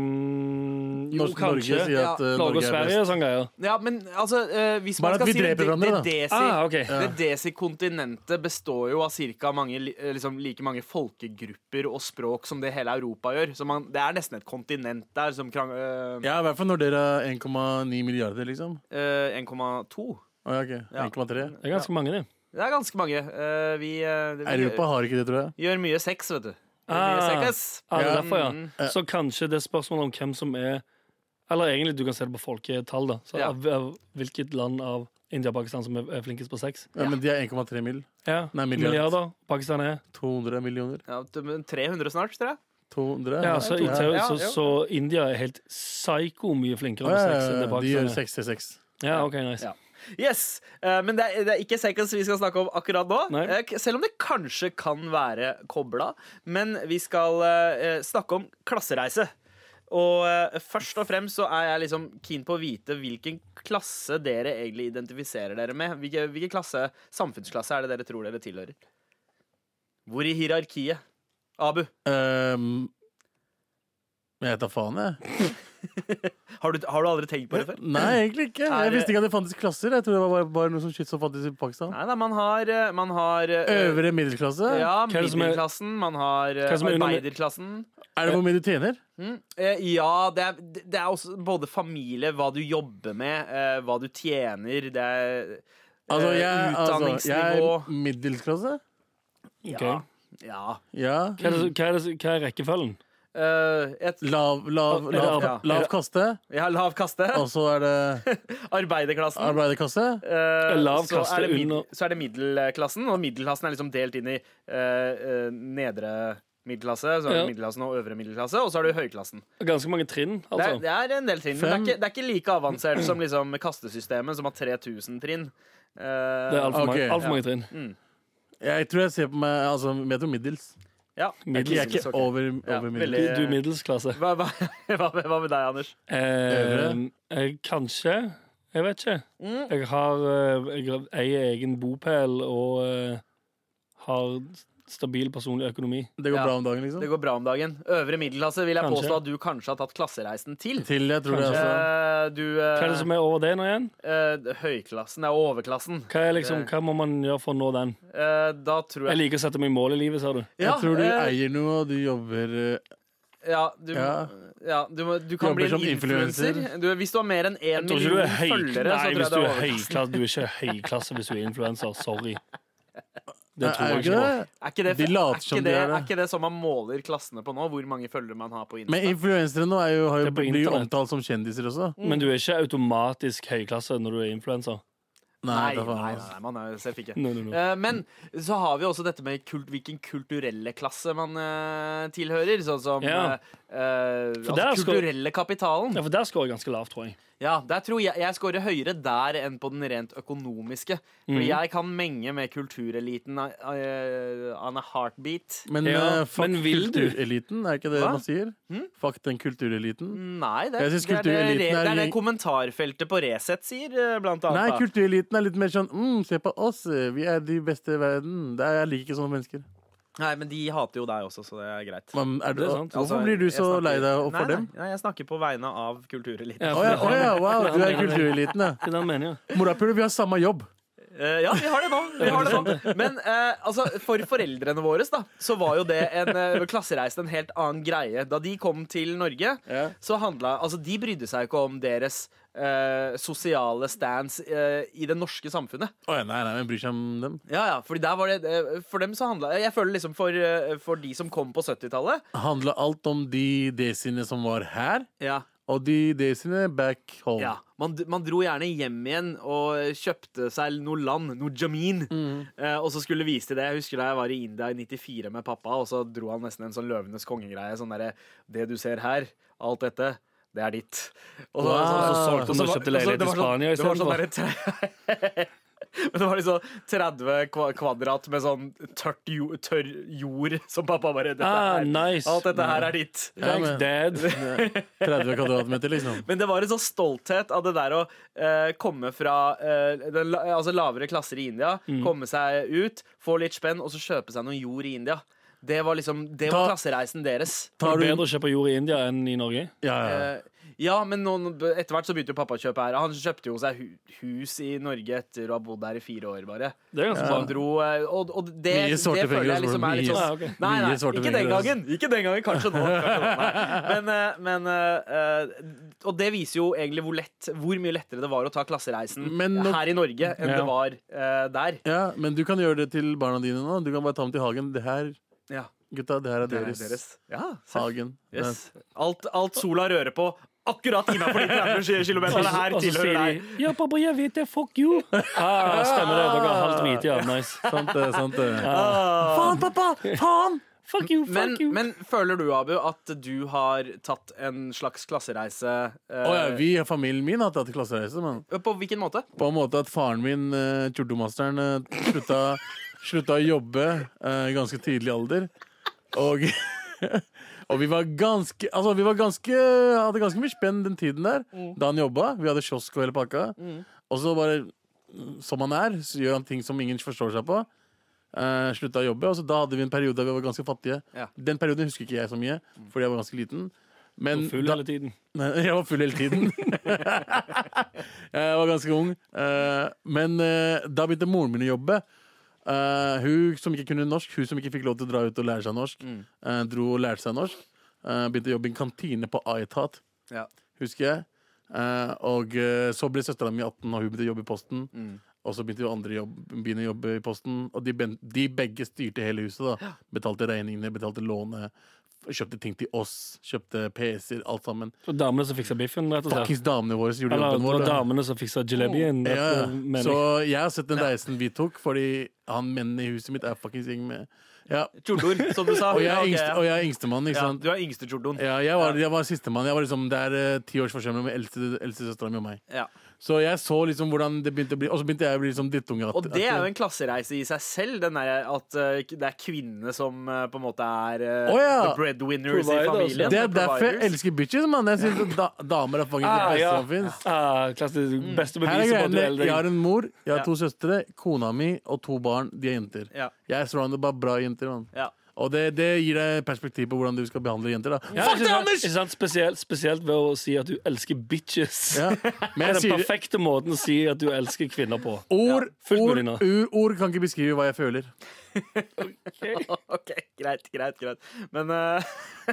F: Ehm, jo,
E: Norsk-
F: kanskje.
E: Norge sier at
F: Norge
E: eh,
F: og
E: Norge er
F: Sverige og sånne greier.
C: Ja, men altså eh, hvis man
E: Bare at
C: skal
E: vi
C: si det,
E: dreper
C: det, det,
E: hverandre, da.
C: desi,
F: Ah, ok.
C: det desi-kontinentet består jo av cirka mange, li- eh, liksom, like mange folkegrupper og språk som det hele Europa gjør. Så man, det er nesten et kontinent der som krang... eh,
E: Ja, i hvert fall når dere er 1,9 milliarder, liksom.
C: eh, 1,2.
E: Å, ja, ok.
C: Ja.
E: 1,3.
F: Det er ganske mange, det.
C: Det er ganske mange. Eh, vi eh, vi
E: Europa har ikke det, tror jeg.
C: gjør mye sex, vet du. Gjør mye
F: Ah.
C: sex.
F: Ah, det er
E: Ja.
F: derfor,
C: Mm.
E: Eh,
F: ja. Så kanskje det er spørsmålet om hvem som er Eller egentlig, du kan se det på folketall, da. Så
C: Ja.
F: av, av hvilket land av India og Pakistan som er, er flinkest på sex.
E: Ja, men de er 1,3 mill.
F: Ja,
E: Nei, milliard.
F: milliarder. Pakistan er
E: 200 millioner.
C: Ja, t- men 300 snart, tror jeg.
E: 200?
F: Ja, så, i teori,
C: Ja,
F: så,
C: jo.
F: så India er helt psyko mye flinkere
E: Ja,
F: med
E: ja,
F: sex enn
E: ja,
F: det
E: De gjør
F: Pakistan er.
E: 66.
F: Ja, ok, nice.
C: Ja. Yes, eh, Men det er, det er ikke seconds vi skal snakke om akkurat nå.
F: Nei.
C: eh, k- Selv om det kanskje kan være kobla. Men vi skal eh, eh, snakke om klassereise. Og eh, først og fremst så er jeg liksom keen på å vite hvilken klasse dere egentlig identifiserer dere med. Hvilke, hvilke klasse, samfunnsklasse er det dere tror dere tilhører? Hvor i hierarkiet? Abu,
E: Ehm, Men jeg tar faen, jeg.
C: har du, har du aldri tenkt på det før?
E: Nei, egentlig ikke.
C: Er
E: Jeg
C: det-
E: visste ikke at det fantes klasser. Jeg tror det var bare, bare noe som shit som fantes i Pakistan.
C: Nei da, man har, eh, man har eh,
E: Øvre middelklasse?
C: Ja,
F: Hva er det som er-
C: middelklassen. Man har eh,
F: Hva er det som er under-
C: arbeiderklassen.
E: Er det hvor mye du tjener?
C: Mm. Eh, ja, det er, det er også både familie, hva du jobber med, eh, hva du tjener, det er
E: Altså,
C: eh,
E: jeg, altså, jeg
C: utdanningsnivå
E: er middelklasse.
F: Ok.
C: Ja. ja.
E: Ja.
F: Hva, er det, hva, er det, hva er rekkefølgen?
C: eh, et,
E: Lav, lav,
F: Er det
E: lav,
C: arbe-
E: lav kaste,
C: ja, lav kaste.
E: og så er det
C: Arbeiderklassen.
E: arbeiderkasse.
C: eh,
F: Lav
C: så,
F: kaste
C: er det mid,
F: under-
C: så er det middelklassen, og middelklassen er liksom delt inn i eh, eh, nedre middelklasse, så er det
F: Ja.
C: middelklassen og øvre middelklasse, og så er det høyklassen.
F: Ganske mange trinn,
C: Det
F: altså.
C: er, det er en del trinn, men det er,
E: Fem.
C: ikke, det er ikke like avansert som liksom kastesystemet, som har 3000 trinn. Eh,
F: Det er altfor mange,
E: Ok.
F: alt for mange trinn.
C: Mm.
E: Jeg tror jeg ser på meg altså, Jeg tror middels.
C: ja.
E: Jeg er ikke
C: Ok.
E: over,
C: Ja,
E: over
F: Du,
E: middels.
C: veldig-
F: du er middels klasse.
C: hva, hva, hva, hva med deg, Anders?
F: Eh, eh, kanskje. Jeg vet ikke.
C: Mm.
F: Jeg har eh, jeg eier egen bopel og eh, har stabil personlig økonomi.
E: Det går
C: Ja.
E: bra om dagen, liksom?
C: Det går bra om dagen. Øvre middelklasse vil jeg
F: Kanskje.
C: påstå at du kanskje har tatt klassereisen til.
E: Til, jeg tror det.
F: Kanskje.
C: Eh,
E: Altså.
C: du eh,
F: Hva er det som er over det nå igjen?
C: eh, Høyklassen er overklassen.
F: Hva, er liksom, hva må man gjøre for å nå den?
C: Eh, da tror jeg
F: Jeg liker å sette meg i mål i livet, sa du.
E: Jeg tror du
C: eh,
E: eier noe, og du jobber eh,
C: ja, du, ja.
E: Ja.
C: du, må- du kan bli
E: Jobber
C: en
E: som influencer.
C: influenser. Du, hvis du har mer enn én
F: Jeg tror ikke du
C: million
F: er høy...
C: følgere,
F: Nei,
C: så tror jeg
F: hvis du
C: det er
F: er
C: overklassen.
F: høyklasse, du er ikke høyklasse hvis du er influenser. Sorry. Det
E: Nei,
F: tror
E: er
F: jeg
E: ikke
F: ikke.
E: det?
F: på.
C: Er ikke det,
E: De later
C: er
E: som
C: ikke
E: de
C: det,
E: er det.
C: er ikke det som man måler klassene på nå? Hvor mange følgere man har på Insta?
E: Men influensere nå er jo, har jo,
F: Det er på
E: blir jo
F: internett.
E: omtalt som kjendiser også.
F: Men
C: Mm.
F: du er ikke automatisk høyklasse når du er influenser.
E: Nei,
C: Nei,
E: da
C: nei,
E: faen,
C: nei,
E: altså.
C: nei, man er jo selv ikke.
F: No, no, no.
C: Eh, Men så har vi også dette med kult, hvilken kulturelle klasse man eh, tilhører. Sånn som
F: Ja.
C: eh, eh, altså,
F: der skal-
C: kulturelle kapitalen.
F: Ja, for der scorer jeg ganske lavt, tror jeg.
C: Ja, der tror jeg jeg scorer høyere der enn på den rent økonomiske. For
E: Mhm.
C: jeg kan menge med kultureliten eh, on a heartbeat.
E: Men
F: Ja,
E: eh, fuck
F: men vil du?
E: kultureliten, er ikke det
C: Hva? Hm? Mm.
E: man sier? Fuck den kultureliten.
C: Nei, det,
E: Jeg synes
C: det, er det,
E: kultureliten
C: re-
E: er
C: det er det
E: gjeng-
C: kommentarfeltet på Resett sier, eh, blant annet.
E: Nei,
C: da.
E: kultureliten er litt mer sånn mm, Se på oss, eh, vi er de beste i verden. Det er, jeg liker ikke sånne mennesker.
C: Nei, men de hater jo deg også, så det er greit.
E: Men er du,
F: Det er sant.
E: Hvorfor
C: Altså,
E: blir du
C: jeg
E: så
C: snakker-
E: lei deg for
C: nei,
E: dem?
C: Nei, nei, jeg snakker på vegne av kultureliten.
E: Å ja, å ja, wow, du er kultureliten, ja.
F: Det er det han mener, ja.
E: Morapuler, vi har samme jobb.
C: Eh, ja, vi har det nå. Vi har det nå. Men eh, altså, for foreldrene våre da, så var jo det en eh, klassereise en helt annen greie. Da de kom til Norge,
E: Ja.
C: så handla Altså, de brydde seg jo ikke om deres eh, sosiale stands eh, i det norske samfunnet.
E: Å ja, nei, nei, men bryr seg om dem.
C: Ja, ja, fordi der var det eh, For dem så handla Jeg føler liksom for, eh, for de som kom på 70-tallet
E: Handla alt om de desiene som var her,
C: ja,
E: og de desiene back home.
C: ja. Man, man dro gjerne hjem igjen og kjøpte seg noe land, noe jamin.
F: Mm.
C: Eh, og så skulle vise til det. Jeg husker da jeg var i India i 94 med pappa, og så dro han nesten en sånn Løvenes konge-greie. Sånn derre Det du ser her, alt dette, det er ditt. Og
E: Wow. Altså,
F: solgte han og kjøpte leilighet i
E: sånn-
F: Spania i
C: i stedet
F: stedet for.
C: sånn Men det var liksom 30 kva- kvadrat med sånn tørt jo, tørr jord som pappa bare dette
F: Ah,
C: her,
F: nice.
C: Alt dette her er ditt.
F: Thanks, dad.
E: 30 kvadratmeter, liksom.
C: Men det var en sånn stolthet av det der å eh, komme fra eh, den, la- altså lavere klasser i India, komme seg ut, få litt spenn, og så kjøpe seg noe jord i India. Det var liksom, det var
E: Ta-
C: klassereisen deres.
E: Tar du
F: Bedre å kjøpe jord i India enn i Norge.
E: Ja, ja.
C: Eh, ja, men nå- etter hvert så begynte jo pappa å kjøpe her. Han kjøpte jo seg hu hus i Norge etter å ha bodd her i fire år, bare.
F: Det er ganske
C: Så han
E: sånn
F: bra.
C: dro, eh, og, og det,
E: Mye
C: det
E: sorte
C: føler
E: fingre,
C: jeg liksom
E: Osborne.
C: er litt
E: Mye-
C: sånn
F: Ah, ok.
C: Nei, nei,
E: Mye svarte
C: ikke den
E: fingre, altså.
C: gangen. Ikke den gangen, kanskje nå. Kanskje nå nei. Men, eh, men eh, eh, Og det viser jo egentlig hvor, lett, hvor mye lettere det var å ta klassereisen
E: Men nå-
C: her i Norge enn
F: Ja.
C: det var eh, der.
E: ja, men du kan gjøre det til barna dine nå. Du kan bare ta dem til hagen. Det her,
C: Ja,
E: gutta, det her er
C: det er
E: deres.
C: deres. Ja, selv.
E: Hagen.
C: Yes. Alt, alt sola rører på. Akkurat innafor de 30 kilometerne her
F: Og så sier
C: tilhører
F: de
C: deg.
F: Ja, pappa, jeg vet det. Fuck you. Ah, stemmer det. Dere er halvt hvite, ja. Nice.
E: Det er Sant det, sant det.
C: Ah.
E: Faen, pappa! Faen!
F: Fuck you,
C: Men,
F: fuck you.
C: men føler du, Abu, at du har tatt en slags klassereise eh,
E: Å ja, vi og familien min har tatt klassereise, men
C: På hvilken måte?
E: på en måte at faren min, eh, tjortomasteren, eh, slutta, slutta å jobbe eh, i ganske tidlig alder. Og, og vi var ganske Altså, vi var ganske hadde ganske mye spenn den tiden der, da han jobba. Vi hadde kiosk og hele pakka. Og så bare, mm, som han er, så gjør han ting som ingen forstår seg på. Eh, slutta å jobbe, og så da hadde vi en periode der vi var ganske fattige.
C: Ja.
E: Den perioden husker ikke jeg så mye, fordi jeg var ganske liten. Men
F: Full hele tiden.
E: Nei, jeg var full hele tiden. jeg var ganske ung. Eh, Men eh, da begynte moren min å jobbe. Eh, Hun som ikke kunne norsk, hun som ikke fikk lov til å dra ut og lære seg norsk, eh, dro og lærte seg norsk. Eh, Begynte å jobbe i en kantine på Aetat,
C: Ja.
E: husker jeg. Eh, Og eh, så ble søstera mi 18, og hun begynte å jobbe i Posten. Og så begynte jo andre jobb, begynne å jobbe i Posten, og de, ben- de begge styrte hele huset. da Betalte regningene, betalte lånet. kjøpte ting til oss. Kjøpte PC-er, alt sammen.
F: Det var damene som fiksa biffen, rett og slett.
E: Fuckings damene våre som gjorde
F: Eller
E: jobben
F: det
E: vår.
F: var
E: da.
F: damene som fiksa jalebien.
E: Ja,
F: dette
E: ja.
F: mener
E: Så
F: jeg.
E: jeg har sett den reisen vi tok, fordi han mennen i huset mitt er fuckings gjeng med ja.
C: Tjordor, som du sa.
E: Og jeg
C: Ah, Ja,
E: er
C: ok.
E: yngste- og jeg er yngstemann, ikke
C: ja,
E: sant?
C: du er yngste tjordon.
E: Ja, jeg var, jeg var sistemann. Jeg var liksom, det er eh, ti års forskjell mellom eldste, eldste søstera mi og meg.
C: Ja.
E: Så jeg så liksom hvordan det begynte å bli Og så begynte jeg å bli liksom drittunge. at-
C: Og det er
E: at-
C: jo en klassereise i seg selv, den der, at eh, det er kvinnene som eh, på en måte er eh,
E: Å, ja.
C: the breadwinners i
F: Providers.
C: familien.
E: det er
C: the
E: derfor jeg
C: providers.
E: elsker bitches, mann. Jeg synes at da, damer er fucking
F: Ah,
E: det beste
F: ja.
E: som fins.
F: Ah, klassisk.
C: Mm.
F: Beste
E: Her er
F: beviset på at du er
E: greiene.
F: eldre.
E: Jeg har en mor, jeg har
C: Ja.
E: to søstre, kona mi og to barn. De er jenter.
C: Ja.
E: Jeg er surrounded by bra jenter, mann.
C: Ja.
E: Og det, det gir deg perspektiv på hvordan du skal behandle jenter. da
F: Ja,
E: Fuck
F: ikke
E: det,
F: sant?
E: Anders!
F: Ikke sant? Spesielt, spesielt ved å si at du elsker bitches.
E: Ja. Men
F: Det er den
E: jeg sier
F: perfekte måten å si at du elsker kvinner på.
E: ord,
F: fullt
E: ord,
F: mulig nå.
E: ord, ord kan ikke beskrive hva jeg føler.
C: OK, greit, greit, greit. Men eh,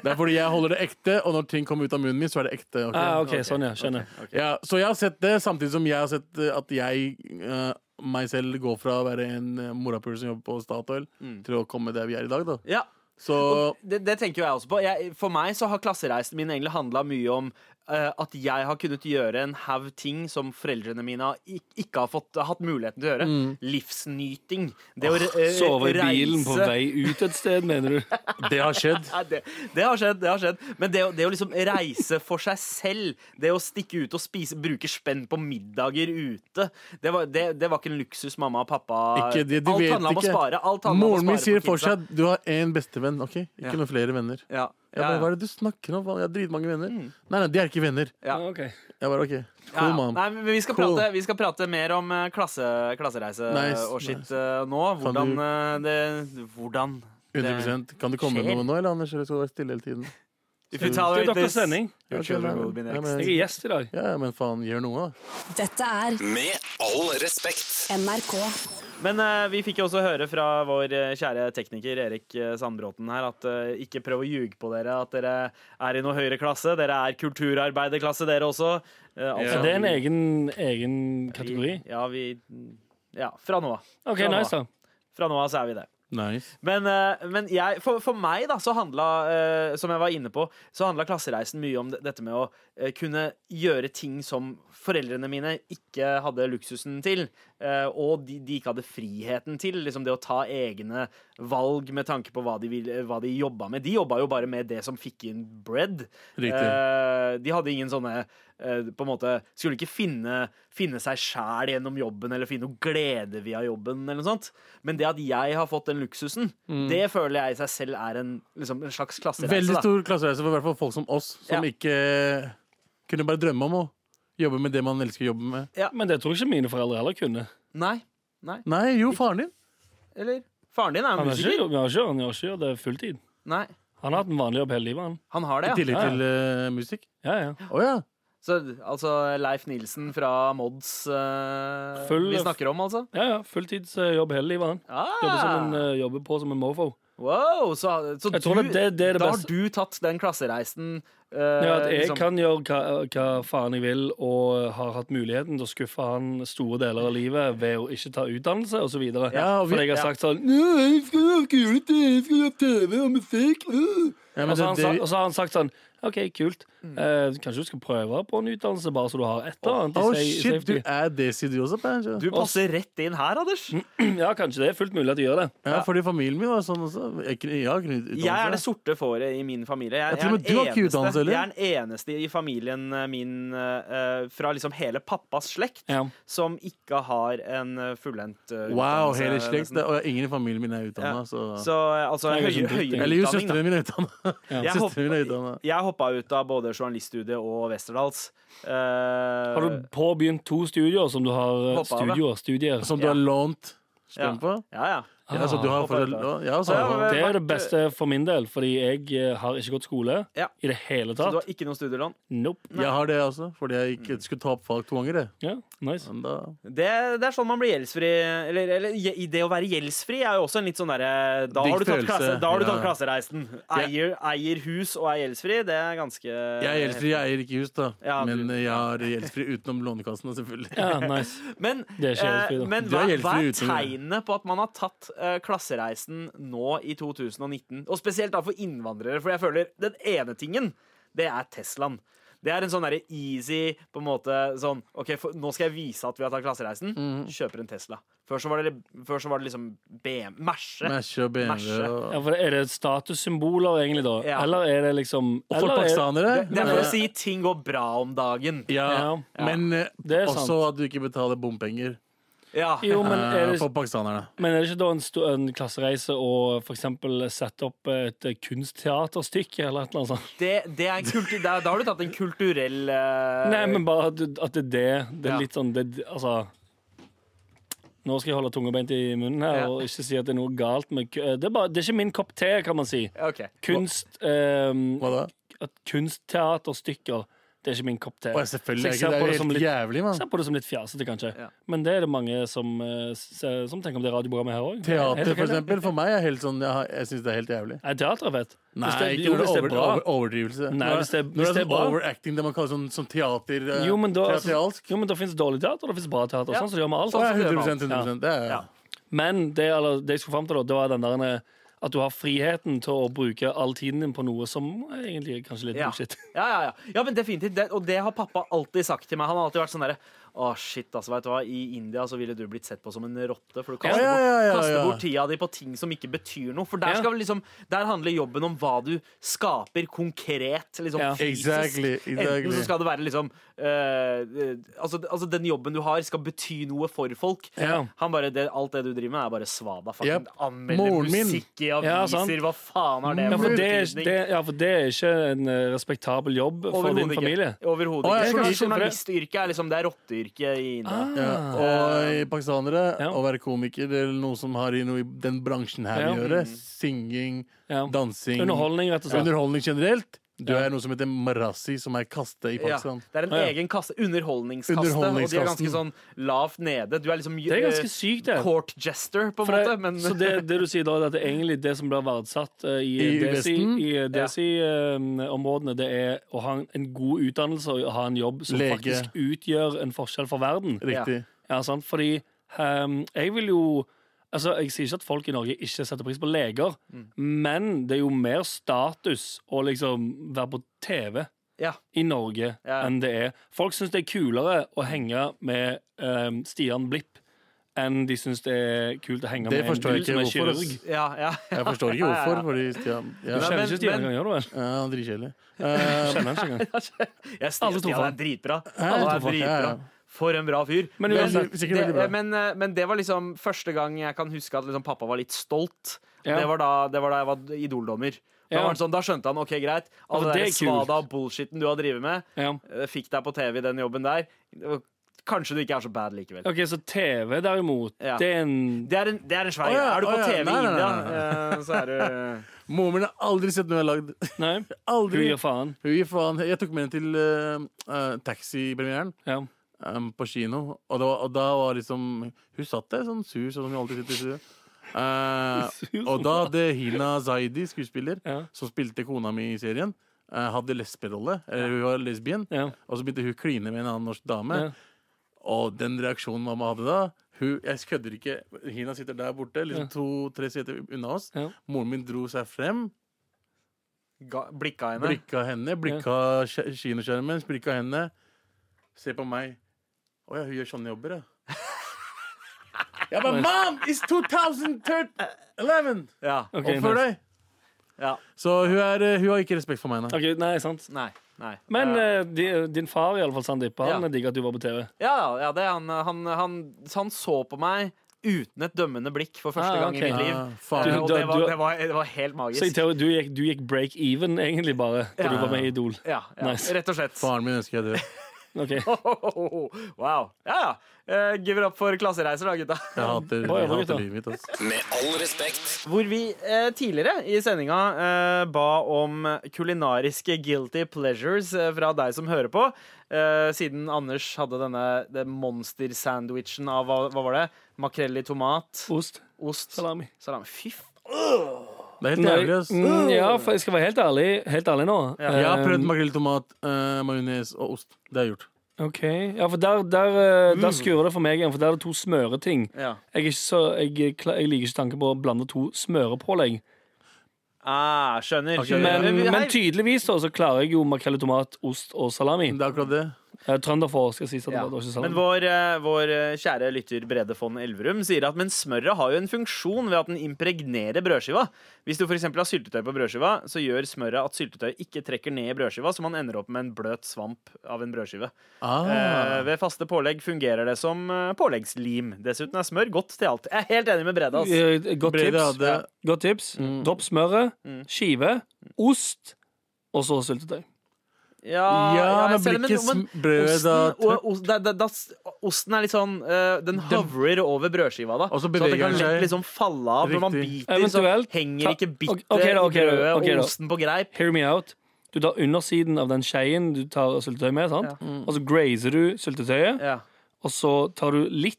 E: Det er fordi jeg holder det ekte, og når ting kommer ut av munnen min, så er det ekte. ok?
F: Ah, ok, sånn ja, skjønner
E: Ja, så jeg har sett det, samtidig som jeg har sett eh, at jeg eh, meg selv går fra å være en eh, morapuler som jobber på Statoil,
F: Mm.
E: til å komme der vi er i dag. da
C: ja.
E: Så
C: Det, det tenker jo jeg også på. Jeg, for meg så har klassereisen min egentlig handla mye om eh, at jeg har kunnet gjøre en haug ting som foreldrene mine har ik- ikke har fått, hatt muligheten til å gjøre.
E: Mm.
C: Livsnyting. Det å re- eh,
F: Sove i bilen på
C: reise-
F: vei ut et sted, mener du?
E: det har skjedd.
C: Nei, det, det har skjedd, det har skjedd. Men det, å- det å liksom reise for seg selv, det å stikke ut og spise, bruke spenn på middager ute, det var, det, det var ikke en luksus mamma og pappa
E: Ikke, de, de
C: Alt
E: vet
C: handla om å
E: ikke.
C: spare. Alt handla om å
E: Moren min
C: spare
E: sier
C: for kidsa.
E: fortsatt du har én bestevenn, OK? Ikke
C: Ja.
E: noen flere venner.
C: Ja,
E: Jeg
C: ja,
E: bare, Hva
C: ja.
E: er det du snakker om? faen? Jeg har dritmange venner. Nei, nei, de er ikke venner.
C: Ja.
F: Ah, ok.
E: Jeg bare, ok,
C: Ja,
E: cool,
C: ja.
E: mom.
C: Nei, men vi, skal
E: Cool.
C: prate, vi skal prate mer om eh, klasse, klassereise
E: Nice,
C: og shit
E: nice.
C: eh, nå.
E: Kan
C: Hvordan
E: du-
C: eh, det Hvordan
E: 100 Kan du komme med
C: skjer.
E: noe nå, eller Anders? Eller skal du være stille hele tiden?
C: If you
F: Det er
C: tolerate
F: Dr.
C: this,
F: Sending.
E: Ja,
C: your children
E: ok,
C: will be
E: nei,
C: next.
E: nei,
F: Jeg er gjest i dag.
E: Ja, men faen, gjør noe, da.
D: Dette er
A: Med all respekt.
D: NRK.
C: Men eh, vi fikk jo også høre fra vår eh, kjære tekniker Erik eh, Sandbråten her at eh, ikke prøv å ljuge på dere at dere er i noe høyere klasse. Dere er kulturarbeiderklasse, dere også. Eh, altså-
F: Ja, det er en egen, egen kategori.
C: Ja, vi Ja, fra nå av.
F: OK,
C: Fra nå av.
F: nice, da.
C: Fra nå av så er vi det.
E: Nice.
C: Men, eh, men jeg, for, for meg, da, så handla, eh, som jeg var inne på, så handla klassereisen mye om det- dette med å eh, kunne gjøre ting som foreldrene mine ikke hadde luksusen til, eh, og de, de ikke hadde friheten til. Liksom det å ta egne valg med tanke på hva de, ville- hva de jobba med. De jobba jo bare med det som fikk inn bread.
E: Riktig.
C: Eh, de hadde ingen sånne eh, på en måte, Skulle ikke finne, finne seg sjæl gjennom jobben eller finne noe glede via jobben. eller noe sånt. Men det at jeg har fått den luksusen,
F: Mm.
C: det føler jeg i seg selv er en, liksom, en slags klassereise.
E: Veldig
C: da.
E: stor klassereise for i hvert fall folk som oss, som
C: Ja.
E: ikke eh, kunne bare drømme om å jobbe med det man elsker å jobbe med.
F: Men det tror jeg ikke mine foreldre heller kunne.
C: Nei.
E: Nei, jo, faren din.
C: Eller? Faren din er jo
F: Han har ikke,
C: musiker.
F: han har ikke, han har ikke gjort det fulltid.
C: Nei.
F: Han har hatt en vanlig jobb hele livet, han.
C: Han har
E: I
C: det, ja.
E: tillegg
F: Ja, ja.
E: til eh, musikk.
F: Ja, ja.
E: Å ja.
C: Så, altså Leif Nilsen fra Mods eh,
F: Full-
C: vi snakker om, altså.
F: ja, ja. Fulltidsjobb hele livet, han.
C: Ah,
F: Jobber, som en, eh, jobber på som en mofo.
C: wow! Så, så
F: Jeg tror
C: du,
F: det- det- det er det
C: da har
F: beste.
C: du tatt den klassereisen eh,
F: Ja, at jeg
C: liksom-
F: kan gjøre hva, hva faen jeg vil, og har hatt muligheten til å skuffe han store deler av livet ved å ikke ta utdannelse osv.
E: Ja, og vi-
F: Fordi jeg har
C: ja.
F: sagt sånn «Nå, jeg skal gjøre kule ting, jeg skal gjøre TV og musikk. øh».
E: ja
C: Altså,
F: Og
E: men
F: så
E: det,
F: har han
E: det,
F: sa- og så har han sagt sånn OK, kult. Eh, kanskje du skal prøve på en utdannelse, bare så du har et eller annet i
E: Å,
F: sa- i
E: Oh, shit,
F: safety.
E: du er desi du også, Pancho.
C: Du passer rett inn her, Anders.
F: Ja, kanskje det er fullt mulig at du gjør det.
E: Ja, fordi familien min var sånn også. Jeg, kunne- jeg har ikke utdannelse.
C: Jeg er det sorte fåret i min familie. Jeg,
E: Ja, til og med
C: jeg,
E: du
C: er
E: har ikke
C: eneste-
E: utdannelse, eller?
C: jeg er den eneste i familien eh, min eh, eh, fra liksom hele pappas slekt
F: Ja.
C: som ikke har en eh, fullendt eh,
E: Wow,
C: utdannelse,
E: hele slekt.
C: nesten.
E: det- Og ingen i familien min er
C: Ja.
E: utdanna. Så.
C: Så eh, altså
F: Det er jo
C: høy,
F: sånn dritt,
C: høyere
E: Eller jo,
C: utdanning, da.
E: søstrene mine er utdanna.
C: Jeg
E: Søstrene mine
C: hoppa,
E: er utdanna.
C: jeg hoppa ut av både journaliststudiet og Westerdals. Eh,
F: Har du påbegynt to studier som du har eh,
C: Hoppa Eh. av, ja.
F: studier, studier?
E: Som du har lånt strøm
C: Ja.
E: på?
C: ja, ja.
E: Ja, så du har
C: hoppa
E: fortsatt
C: ut av.
E: Ja, så
C: Ja, men-
F: Det er det
C: vært-
F: beste for min del, fordi jeg eh, har ikke gått skole
C: Ja.
F: i det hele
C: Så du
F: tatt.
C: har ikke noe studielån?
F: Nope.
E: Jeg har det også, fordi jeg
C: Mm.
E: ikke skulle ta opp fag to ganger. Det.
F: Ja, nice.
E: Men da,
C: Det, det er sånn man blir gjeldsfri. Eller, eller je- i det å være gjeldsfri er jo også en litt sånn derre Da har du
E: Digg
C: tatt,
E: følelse.
C: klasse, da har du
E: Ja.
C: tatt klassereisen. Eier, eier hus og er gjeldsfri, det er ganske
E: jeg er gjeldsfri, jeg eier ikke hus, da.
C: Ja, du-
E: Men jeg har gjeldsfri utenom Lånekassen, selvfølgelig.
F: Ja, nice.
C: Men,
F: Det er ikke
C: eh,
F: gjeldsfri, da.
C: men
E: Du
C: hva, hva
E: er gjeldsfri
C: er
E: uten-
C: tegnet på at man har tatt eh, klassereisen nå i 2019. Og spesielt da for innvandrere, for jeg føler den ene tingen, det er Teslaen. Det er en sånn der easy på en måte sånn OK, for, nå skal jeg vise at vi har tatt klassereisen.
E: Mm.
C: Kjøper en Tesla. Før så var det, før så var det liksom BM, Merse.
E: Mashe og BMW
C: Mashe.
E: og,
F: Ja, for Er det statussymboler, egentlig, da?
C: Ja.
F: Eller er det liksom
E: og for
F: eller er-
E: pakistanere.
C: Det er for å si ting går bra om dagen.
E: ja,
F: Ja.
E: Men eh,
F: Det er
E: også
F: sant.
E: at du ikke betaler bompenger
C: Ja.
F: Jo, men
E: eh,
F: er det,
E: for pakistanerne.
F: men er det ikke da en, sto- en klassereise å for eksempel sette opp et eh, kunstteaterstykke eller et eller annet sånt?
C: Det, det er en kultu, da, da har du tatt en kulturell eh,
F: Nei, men bare at, du- at det er det. Det er
C: Ja.
F: litt sånn det, Altså Nå skal jeg holde tunga beint i munnen her
C: Ja.
F: og ikke si at det er noe galt med ku- eh, Det er, bare, det er ikke min kopp te, kan man si.
C: OK.
F: Kunst eh,
E: Hva da?
F: at Kunstteaterstykker, det er ikke min kopp te.
E: Å,
F: Så
E: selvfølgelig er
F: jeg
E: ikke
F: ser
E: det er
F: på
E: jo
F: det som
E: helt
F: litt-
E: jævlig,
F: Se
E: mann.
F: på det som litt fjasete, kanskje.
C: Ja.
F: Men det er det mange som, eh, se- som tenker om det radioprogrammet her òg.
E: Teater, for eksempel, for meg er helt sånn Jeg, har- jeg syns det er helt jævlig.
F: Nei, teater er fett.
E: Nei,
F: Hvis det-
E: ikke
F: jo,
E: når det
F: hvis det
E: er
F: er
E: over,
F: bra.
E: over, overdrivelse.
F: Nei,
E: Når
F: hvis det-
E: når
F: hvis det er
E: sånn
F: bra.
E: overacting, det man kaller sånn, sånn teater... eh,
F: Jo, men da,
E: teatralsk.
F: jo, men da finnes dårlig teater, og det finnes bra teater.
C: Ja.
F: Sånn som det gjør med alt.
E: Å, ja,
C: som det er med
E: 100, 100 det er,
C: Ja.
F: Men det, eller, det jeg skulle fram til, da, det var den der eh, at du har friheten til å bruke all tiden din på noe som er egentlig er kanskje litt
C: Ja.
F: bullshit.
C: Ja, ja, ja. ja, men definitivt. Det, og det har pappa alltid sagt til meg. Han har alltid vært sånn derre Å, shit, altså, vet du hva. I India så ville du blitt sett på som en rotte. For du kaster,
E: Ja, ja, ja, ja,
C: bort, kaster
E: ja.
C: bort tida di på ting som ikke betyr noe. For der,
F: Ja.
C: skal vi liksom, der handler jobben om hva du skaper konkret. Liksom,
F: Ja.
C: fysisk.
E: Exactly,
C: Enten
E: exactly.
C: så skal det være liksom eh, eh, altså, altså, den jobben du har, skal bety noe for folk.
F: Ja.
C: Han bare, det, Alt det du driver med, er bare svada. Fucking
E: Yep.
C: anmelder
E: Moren min.
C: musikk i
F: Ja, sant.
C: aviser. hva faen har det
F: Ja, for det, er,
C: betydning?
F: det, ja, for det er ikke en eh, respektabel jobb for
C: Overhodet
F: din familie.
C: Ikke. Overhodet
E: Å,
C: ikke.
E: jeg skjønner-
C: Journal-
E: jeg skjønner det.
C: Journalistyrket er liksom det er rotteyrket i India.
F: Ah,
E: ja. Og i pakistanere,
F: Ja.
E: å være komiker eller noe som har i noe i den bransjen her
F: Ja.
E: å gjøre, singing,
F: Ja.
E: dansing
F: Underholdning, rett og slett.
E: Underholdning generelt. Du
F: Ja.
E: er noe som heter marasi, som er kaste i
C: Ja,
E: Pakistan.
C: det er en
F: Ja, ja.
C: egen kasse. Underholdningskaste. Og de er ganske sånn
E: Underholdningskasten.
C: lavt nede. Du er liksom
F: Det er
C: eh,
F: ganske sykt, det.
C: court jester, på en
F: For
C: måte.
F: det,
C: Men
F: Så det, det du sier da, er at det er egentlig det som blir verdsatt eh, i, eh,
E: I Vesten?
F: DESI-områdene, det er å ha en- en god utdannelse og ha en jobb som
E: Lege.
F: faktisk utgjør en forskjell for verden.
E: Riktig.
F: Ja, sant? Fordi ehm, jeg vil jo Altså, Jeg sier ikke at folk i Norge ikke setter pris på leger, men det er jo mer status å liksom være på TV
C: ja,
F: i Norge
C: Ja.
F: enn det er. Folk syns det er kulere å henge med ehm, Stian Blipp enn de syns det er kult å henge
E: Det
F: med en
E: forstår jeg
F: dude som
E: ikke
F: er
E: hvorfor.
F: kirurg.
E: ass.
C: ja, ja.
E: Jeg forstår ikke
C: Ja, ja, ja.
E: hvorfor, fordi Stian ja,
F: Du
E: ja,
C: Nei,
F: kjenner
C: men-
F: ikke Stian
C: men-
F: engang, gjør du vel?
E: han er dritkjedelig. Eh,
F: Kjenner han ikke engang.
C: Jeg stiger,
F: Alle to
C: Stian
F: faen.
C: er dritbra.
E: to
C: Han er
E: faen, ja,
C: dritbra.
E: ja.
C: For en bra fyr.
F: Men uansett,
E: sikkert
C: det,
E: veldig bra.
C: men, eh, men det var liksom første gang jeg kan huske at liksom pappa var litt stolt.
F: Ja.
C: Det, var da, det var da jeg var idoldommer. Da,
F: Ja.
C: var det sånn, da skjønte han ok, greit. All
F: for
C: det
F: det
C: der
F: er kult.
C: svada og bullshiten du har drevet med,
F: Ja.
C: eh, fikk deg på TV i den jobben der. og Kanskje du ikke er så bad likevel.
F: OK, så TV, derimot,
C: Ja.
F: det er en
C: Det er en, det er en svær
E: Å
C: greie.
E: ja,
C: Er du
E: å
C: på
E: ja,
C: TV
E: nei,
C: i
E: nei,
C: India,
E: nei,
C: eh, så er du
E: Moren min har aldri sett noe jeg har lagd.
F: Nei, du
E: Aldri.
F: gir faen.
E: Hun gir faen. Jeg tok med henne til eh, eh, taxipremieren
F: Ja.
E: em, på kino. Og da, og da var liksom Hun satt der sånn sur, sånn som hun alltid sitter sur. Eh,
F: Sur
E: og da hadde Hina Zaidi, skuespiller,
F: Ja.
E: som spilte kona mi i serien, eh, hadde lesberolle. Eller hun var lesbien.
F: Ja.
E: Og så begynte hun å kline med en annen norsk dame.
F: Ja.
E: Og den reaksjonen mamma hadde da hun, Jeg kødder ikke. Hina sitter der borte, liksom
F: Ja.
E: to-tre seter unna oss.
F: Ja.
E: Moren min dro seg frem,
C: ga- blikka henne.
E: blikka henne, blikka skje- kinoskjermen, blikka henne. Se på meg. Å ja, hun gjør sånne jobber, ja. Jeg bare Mom, it's 2011!
C: Ja.
F: Ok,
E: Oppfør
F: nice.
E: deg!
C: ja.
E: Så hun, er, eh, hun har ikke respekt for meg, nei.
F: OK, nei, sant.
C: Nei. Nei.
F: Men
C: Eh,
F: eh, di, din far, iallfall, Sandeep, han
C: Ja.
F: digger at du var på TV.
C: ja, ja, det er han, eh, han, han, han så på meg uten et dømmende blikk for første
F: Ah,
C: gang
F: ok.
C: i mitt liv.
E: Ah,
C: Eh,
E: faen.
C: og
F: Du-
C: det var,
F: du-
C: det var, det var helt
F: Så i
C: magisk.
F: teori, du gikk, du gikk break even, egentlig, bare, da du
C: Ja.
F: var med i Idol.
C: Ja, ja.
F: Nice.
C: Rett og slett.
E: Faren min ønsker jeg død.
F: Ok.
C: Wow. Ja, ja. Eh, give it up for klassereiser, da, gutta.
E: Jeg hater,
F: Hva jobber
E: jeg hater
F: gutta?
E: livet mitt. Altså.
A: Med all respekt.
C: Hvor vi eh, tidligere i sendinga eh, ba om kulinariske guilty pleasures eh, fra deg som hører på. Eh, siden Anders hadde denne det monstersandwichen av hva, hva var det? Makrell i tomat,
F: Ost.
C: ost
F: Salami.
C: Salami. Fy faen.
E: Det er helt jævlig, ass.
F: Mm,
C: Uh.
F: ja, for jeg skal være helt ærlig, helt ærlig nå.
E: Jeg har
F: Eh,
E: prøvd makrell i tomat, eh, majones og ost. Det har jeg gjort.
F: Ok, ja, for der, der, eh,
C: Mm.
F: der skurrer det for meg igjen, for der er det to smøreting.
C: Ja.
F: Jeg, er ikke så, jeg, eh, kla- jeg liker ikke tanken på å blande to smørepålegg.
C: Ah, skjønner. skjønner.
F: Men,
C: Hei.
F: men tydeligvis da, så klarer jeg jo makrell i tomat, ost og salami.
E: Det er akkurat det.
F: Eh, Trønderfor skal sies at det
C: Ja.
F: var- det var
C: Men
F: ikke salami.
C: vår, eh, vår eh, kjære lytter Brede von Elverum sier at men smøret har jo en funksjon ved at den impregnerer brødskiva. Hvis du f.eks. har syltetøy på brødskiva, så gjør smøret at syltetøy ikke trekker ned i brødskiva, så man ender opp med en bløt svamp av en brødskive. Eh,
E: Ah.
C: ved faste pålegg fungerer det som eh, påleggslim. Dessuten er smør godt til alt. Jeg er helt enig med Brede. Mm. ass.
F: Eh, Godt
E: Brede
F: tips.
E: hadde-
F: Ja. Godt tips. Dropp smøret, skive, ost, og så syltetøy.
E: Ja,
C: jeg
E: men
C: ser
E: blir
C: det,
E: ikke
C: men-
E: brødet da
C: Osten,
E: tørt?
C: og, ost, da, da, da, osten er litt sånn eh, Den hovrer over brødskiva, da.
E: Og så
C: at
E: beveger
C: det kan
E: den
C: lett
E: seg.
C: liksom falle av når man
E: Riktig.
C: biter. Så
F: Eventuelt,
C: henger
F: ta-
C: ikke bittet
F: ok, ok da, ok
C: i
F: da,
C: brødet
F: ok da.
C: og osten på greip.
F: Hear me out. Du tar undersiden av den skeien du tar syltetøy med, sant? og så grazer du syltetøyet.
C: Ja.
F: og så tar du litt,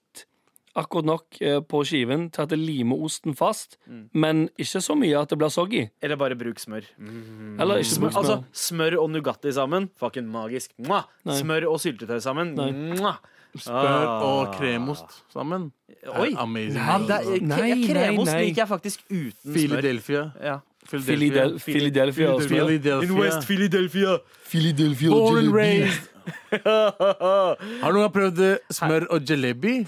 F: akkurat nok eh, på skiven til at det limer osten fast,
C: Mm.
F: men ikke så mye at det blir soggy.
C: Eller bare bruk smør. Mm.
F: Eller ikke så mye.
C: Altså, smør og Nugatti sammen, fucking magisk. Mwah!
F: Nei.
C: Smør og syltetøy sammen.
F: Nei.
C: Mwah!
E: Spør og kremost sammen.
C: Oi!
E: Er Amazing.
C: Ja, det er,
F: Ah. Nei,
C: ja, kremost
F: nei, nei.
C: liker jeg faktisk uten smør.
E: Philadelphia.
C: Ja.
F: Filidel- Philadelphia. altså.
E: Philadelphia.
C: Philadelphia.
E: Born and raised. Har noen gang prøvd eh, smør og jalebi?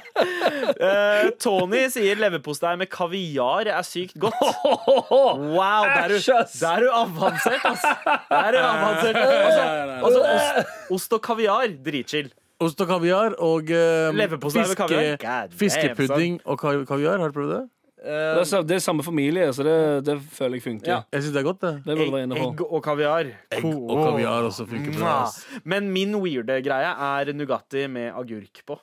C: Eh, Tony sier leverpostei med kaviar er sykt godt. Wow, der er du,
F: Æsj, ass!
C: der er du avansert, ass. Der er du avansert. Altså, altså ost, ost og kaviar, dritchill.
E: Ost og kaviar og eh,
C: Leverpostei med kaviar. God damn,
E: fiskepudding og ka- kaviar. Har du prøvd det?
F: Det er, sa- det er samme familie, så det, det føler jeg funker.
C: Ja.
E: Jeg syns det er godt, det.
F: Det burde du være
C: Egg,
F: inne på.
C: egg og kaviar.
E: Egg og kaviar også funker bra.
C: Mwah.
E: ass.
C: Men min weirde greie er Nugatti med agurk på.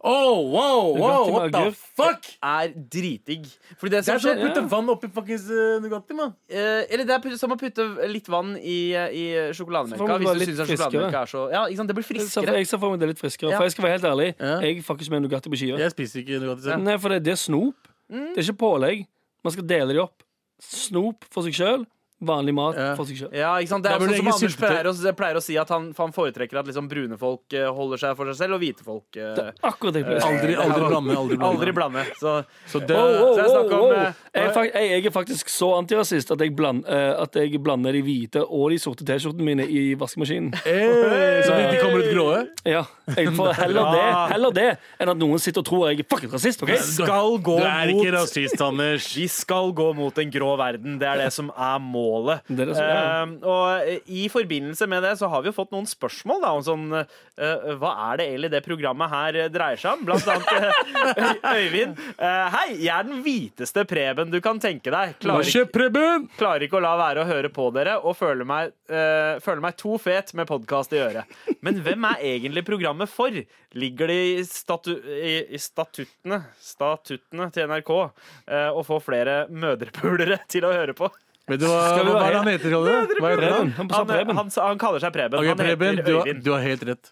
E: Oh, wow, wow,
F: Nugatti med
E: what the
F: agurk.
E: fuck?
C: Er dritdigg. Fordi det som
E: Det
F: sånn
E: er som
C: skjer
E: å putte vann oppi fuckings eh, Nugatti, mann.
C: Eh, eller det er putt- som å putte litt vann i, eh, i
F: Så får
C: sjokolademelka.
F: man bare
C: Hvis du
F: litt
C: syns
F: friskere.
C: sjokolademelka er så Ja, ikke sant? Det blir
F: Jeg ser-
C: friskere.
F: jeg ser for meg det er litt friskere.
C: Ja.
F: For jeg skal være helt ærlig,
E: Ja.
F: jeg fucker ikke med Nugatti på skiva.
E: Jeg spiser ikke Nugatti selv.
F: Nei, for det, det er snop.
C: Mm.
F: Det er ikke pålegg. Man skal dele de opp. Snop for seg sjøl, vanlig mat
E: Ja.
F: for seg sjøl.
C: Ja, ikke sant? Det
E: Da
C: er sånn
E: burde
C: som
E: ingen
C: Anders
E: sylte.
C: pleier å, pleier å si, at han, han foretrekker at liksom brune folk eh, holder seg for seg selv, og hvite folk eh,
F: Akkurat det jeg pleier å si.
E: Aldri, aldri blande. Aldri blande.
C: aldri blande. Så eh,
E: Så det,
F: Wow, wow,
C: Så jeg snakker om,
F: wow, wow.
C: eh,
F: Jeg, er fak- jeg, jeg er faktisk så antirasist at jeg, bland, eh, at jeg blander de hvite og de sorte T-skjortene mine i vaskemaskinen.
E: Eh, så de ikke kommer ut grå?
F: Ja, jeg får heller det, heller det enn at noen sitter og tror jeg er fucking rasist. ok?
C: skal gå
E: Du er ikke
C: mot
E: rasist, Anders.
C: vi skal gå mot en grå verden. Det er det som er målet.
F: Det er det som er.
C: Ehm, og eh, i forbindelse med det så har vi jo fått noen spørsmål da, om sånn eh, Hva er det egentlig det programmet her eh, dreier seg om? Blant annet eh, Øyvind. eh, hei, jeg er den hviteste Preben du kan tenke deg. Klarer ikke
E: Preben!
C: Klarer ikke å la være å høre på dere og føler meg, eh, føler meg to fet med podkast i øret. Men hvem er egentlig programmet for? Ligger det i, statu, i, i statuttene, statuttene til NRK eh, å få flere mødrepulere til å høre på?
E: Vet du hva, hva, hva er det han heter? Kalle? Hva heter han?
F: Preben. Han sa
C: Han, eh,
F: Preben.
C: han, sa- han kaller seg Preben.
E: Ok,
C: han
E: Preben,
C: heter
E: du har,
C: Øyvind.
E: du har helt rett.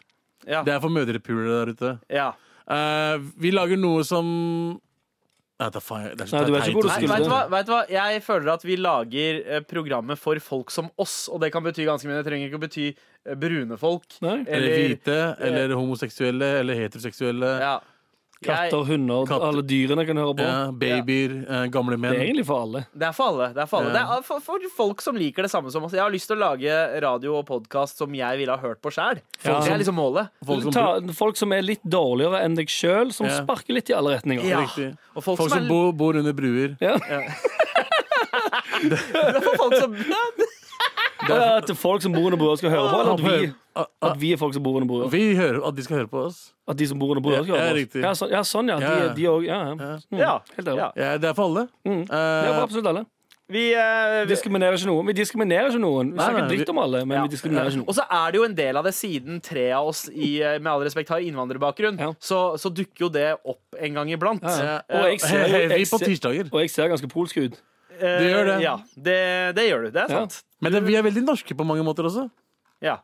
C: Ja.
E: Det er for mødrepulere der ute.
C: ja.
E: Eh, vi lager noe som Nei, da faen, det er så
F: Nei, du vet ikke hvor du
E: teit.
C: Nei, vet
F: skulle-
C: du, hva, vet du hva? Jeg føler at vi lager eh, programmet for folk som oss, og det kan bety ganske mye. Det trenger ikke å bety eh, brune folk.
F: Nei.
E: Eller hvite, eller homoseksuelle, eller heteroseksuelle.
C: Ja.
E: Ja.
C: Jeg-
F: Katter, hunder,
E: Katter.
F: alle dyrene kan høre på.
E: babyer, eh,
F: Det
E: gamle
F: er
E: menn.
F: egentlig for alle.
C: Det er for alle. Det er, for, alle.
E: Ja.
C: Det er for, for folk som liker det samme som oss. Jeg har lyst til å lage radio og podkast som jeg ville ha hørt på sjæl.
F: Ja.
C: Det er liksom målet.
E: Folk som,
F: Ta, folk som er litt dårligere enn deg sjøl, som
E: Ja.
F: sparker litt i alle retninger.
C: Ja.
E: Riktig.
C: Og folk,
E: folk
C: som,
E: som
C: er,
E: bor, bor under bruer.
C: for folk som ja,
F: Ja, At folk som bor under broer, skal høre på, eller at vi,
E: Ah, ah,
F: at vi er folk som bor under broer.
E: Vi hører at de skal høre på oss.
F: At de som bor under broer, skal
E: Ja,
F: høre på.
E: riktig.
F: oss. Ja, så, ja, sånn, ja. De,
E: Ja.
F: de også, ja, ja. Mm,
C: Ja.
F: Helt ærlig.
C: Ja.
E: Ja, det er for alle.
F: Mm.
E: Eh,
F: Ja, for absolutt alle.
C: vi, eh,
F: Vi
C: vi
F: diskriminerer ikke noen. Vi diskriminerer ikke noen. Vi
E: Nei,
F: snakker
E: nei, vi-
F: dritt om alle, men vi diskriminerer ikke
C: Og
F: noen.
C: så er det jo en del av det, siden tre av oss i, eh, med all respekt har innvandrerbakgrunn,
F: Ja.
C: så, så dukker jo det opp en gang iblant.
F: Ja.
E: ja.
F: Og jeg ser-
E: Hei, hei, vi
F: jeg
E: på
F: ser-
E: tirsdager.
F: Og jeg ser ganske polsk ut.
C: Eh,
E: Du gjør det.
C: Ja, det, det gjør du. Det er
F: Ja.
C: sant.
E: Men det, vi er veldig norske på mange måter også.
C: Ja.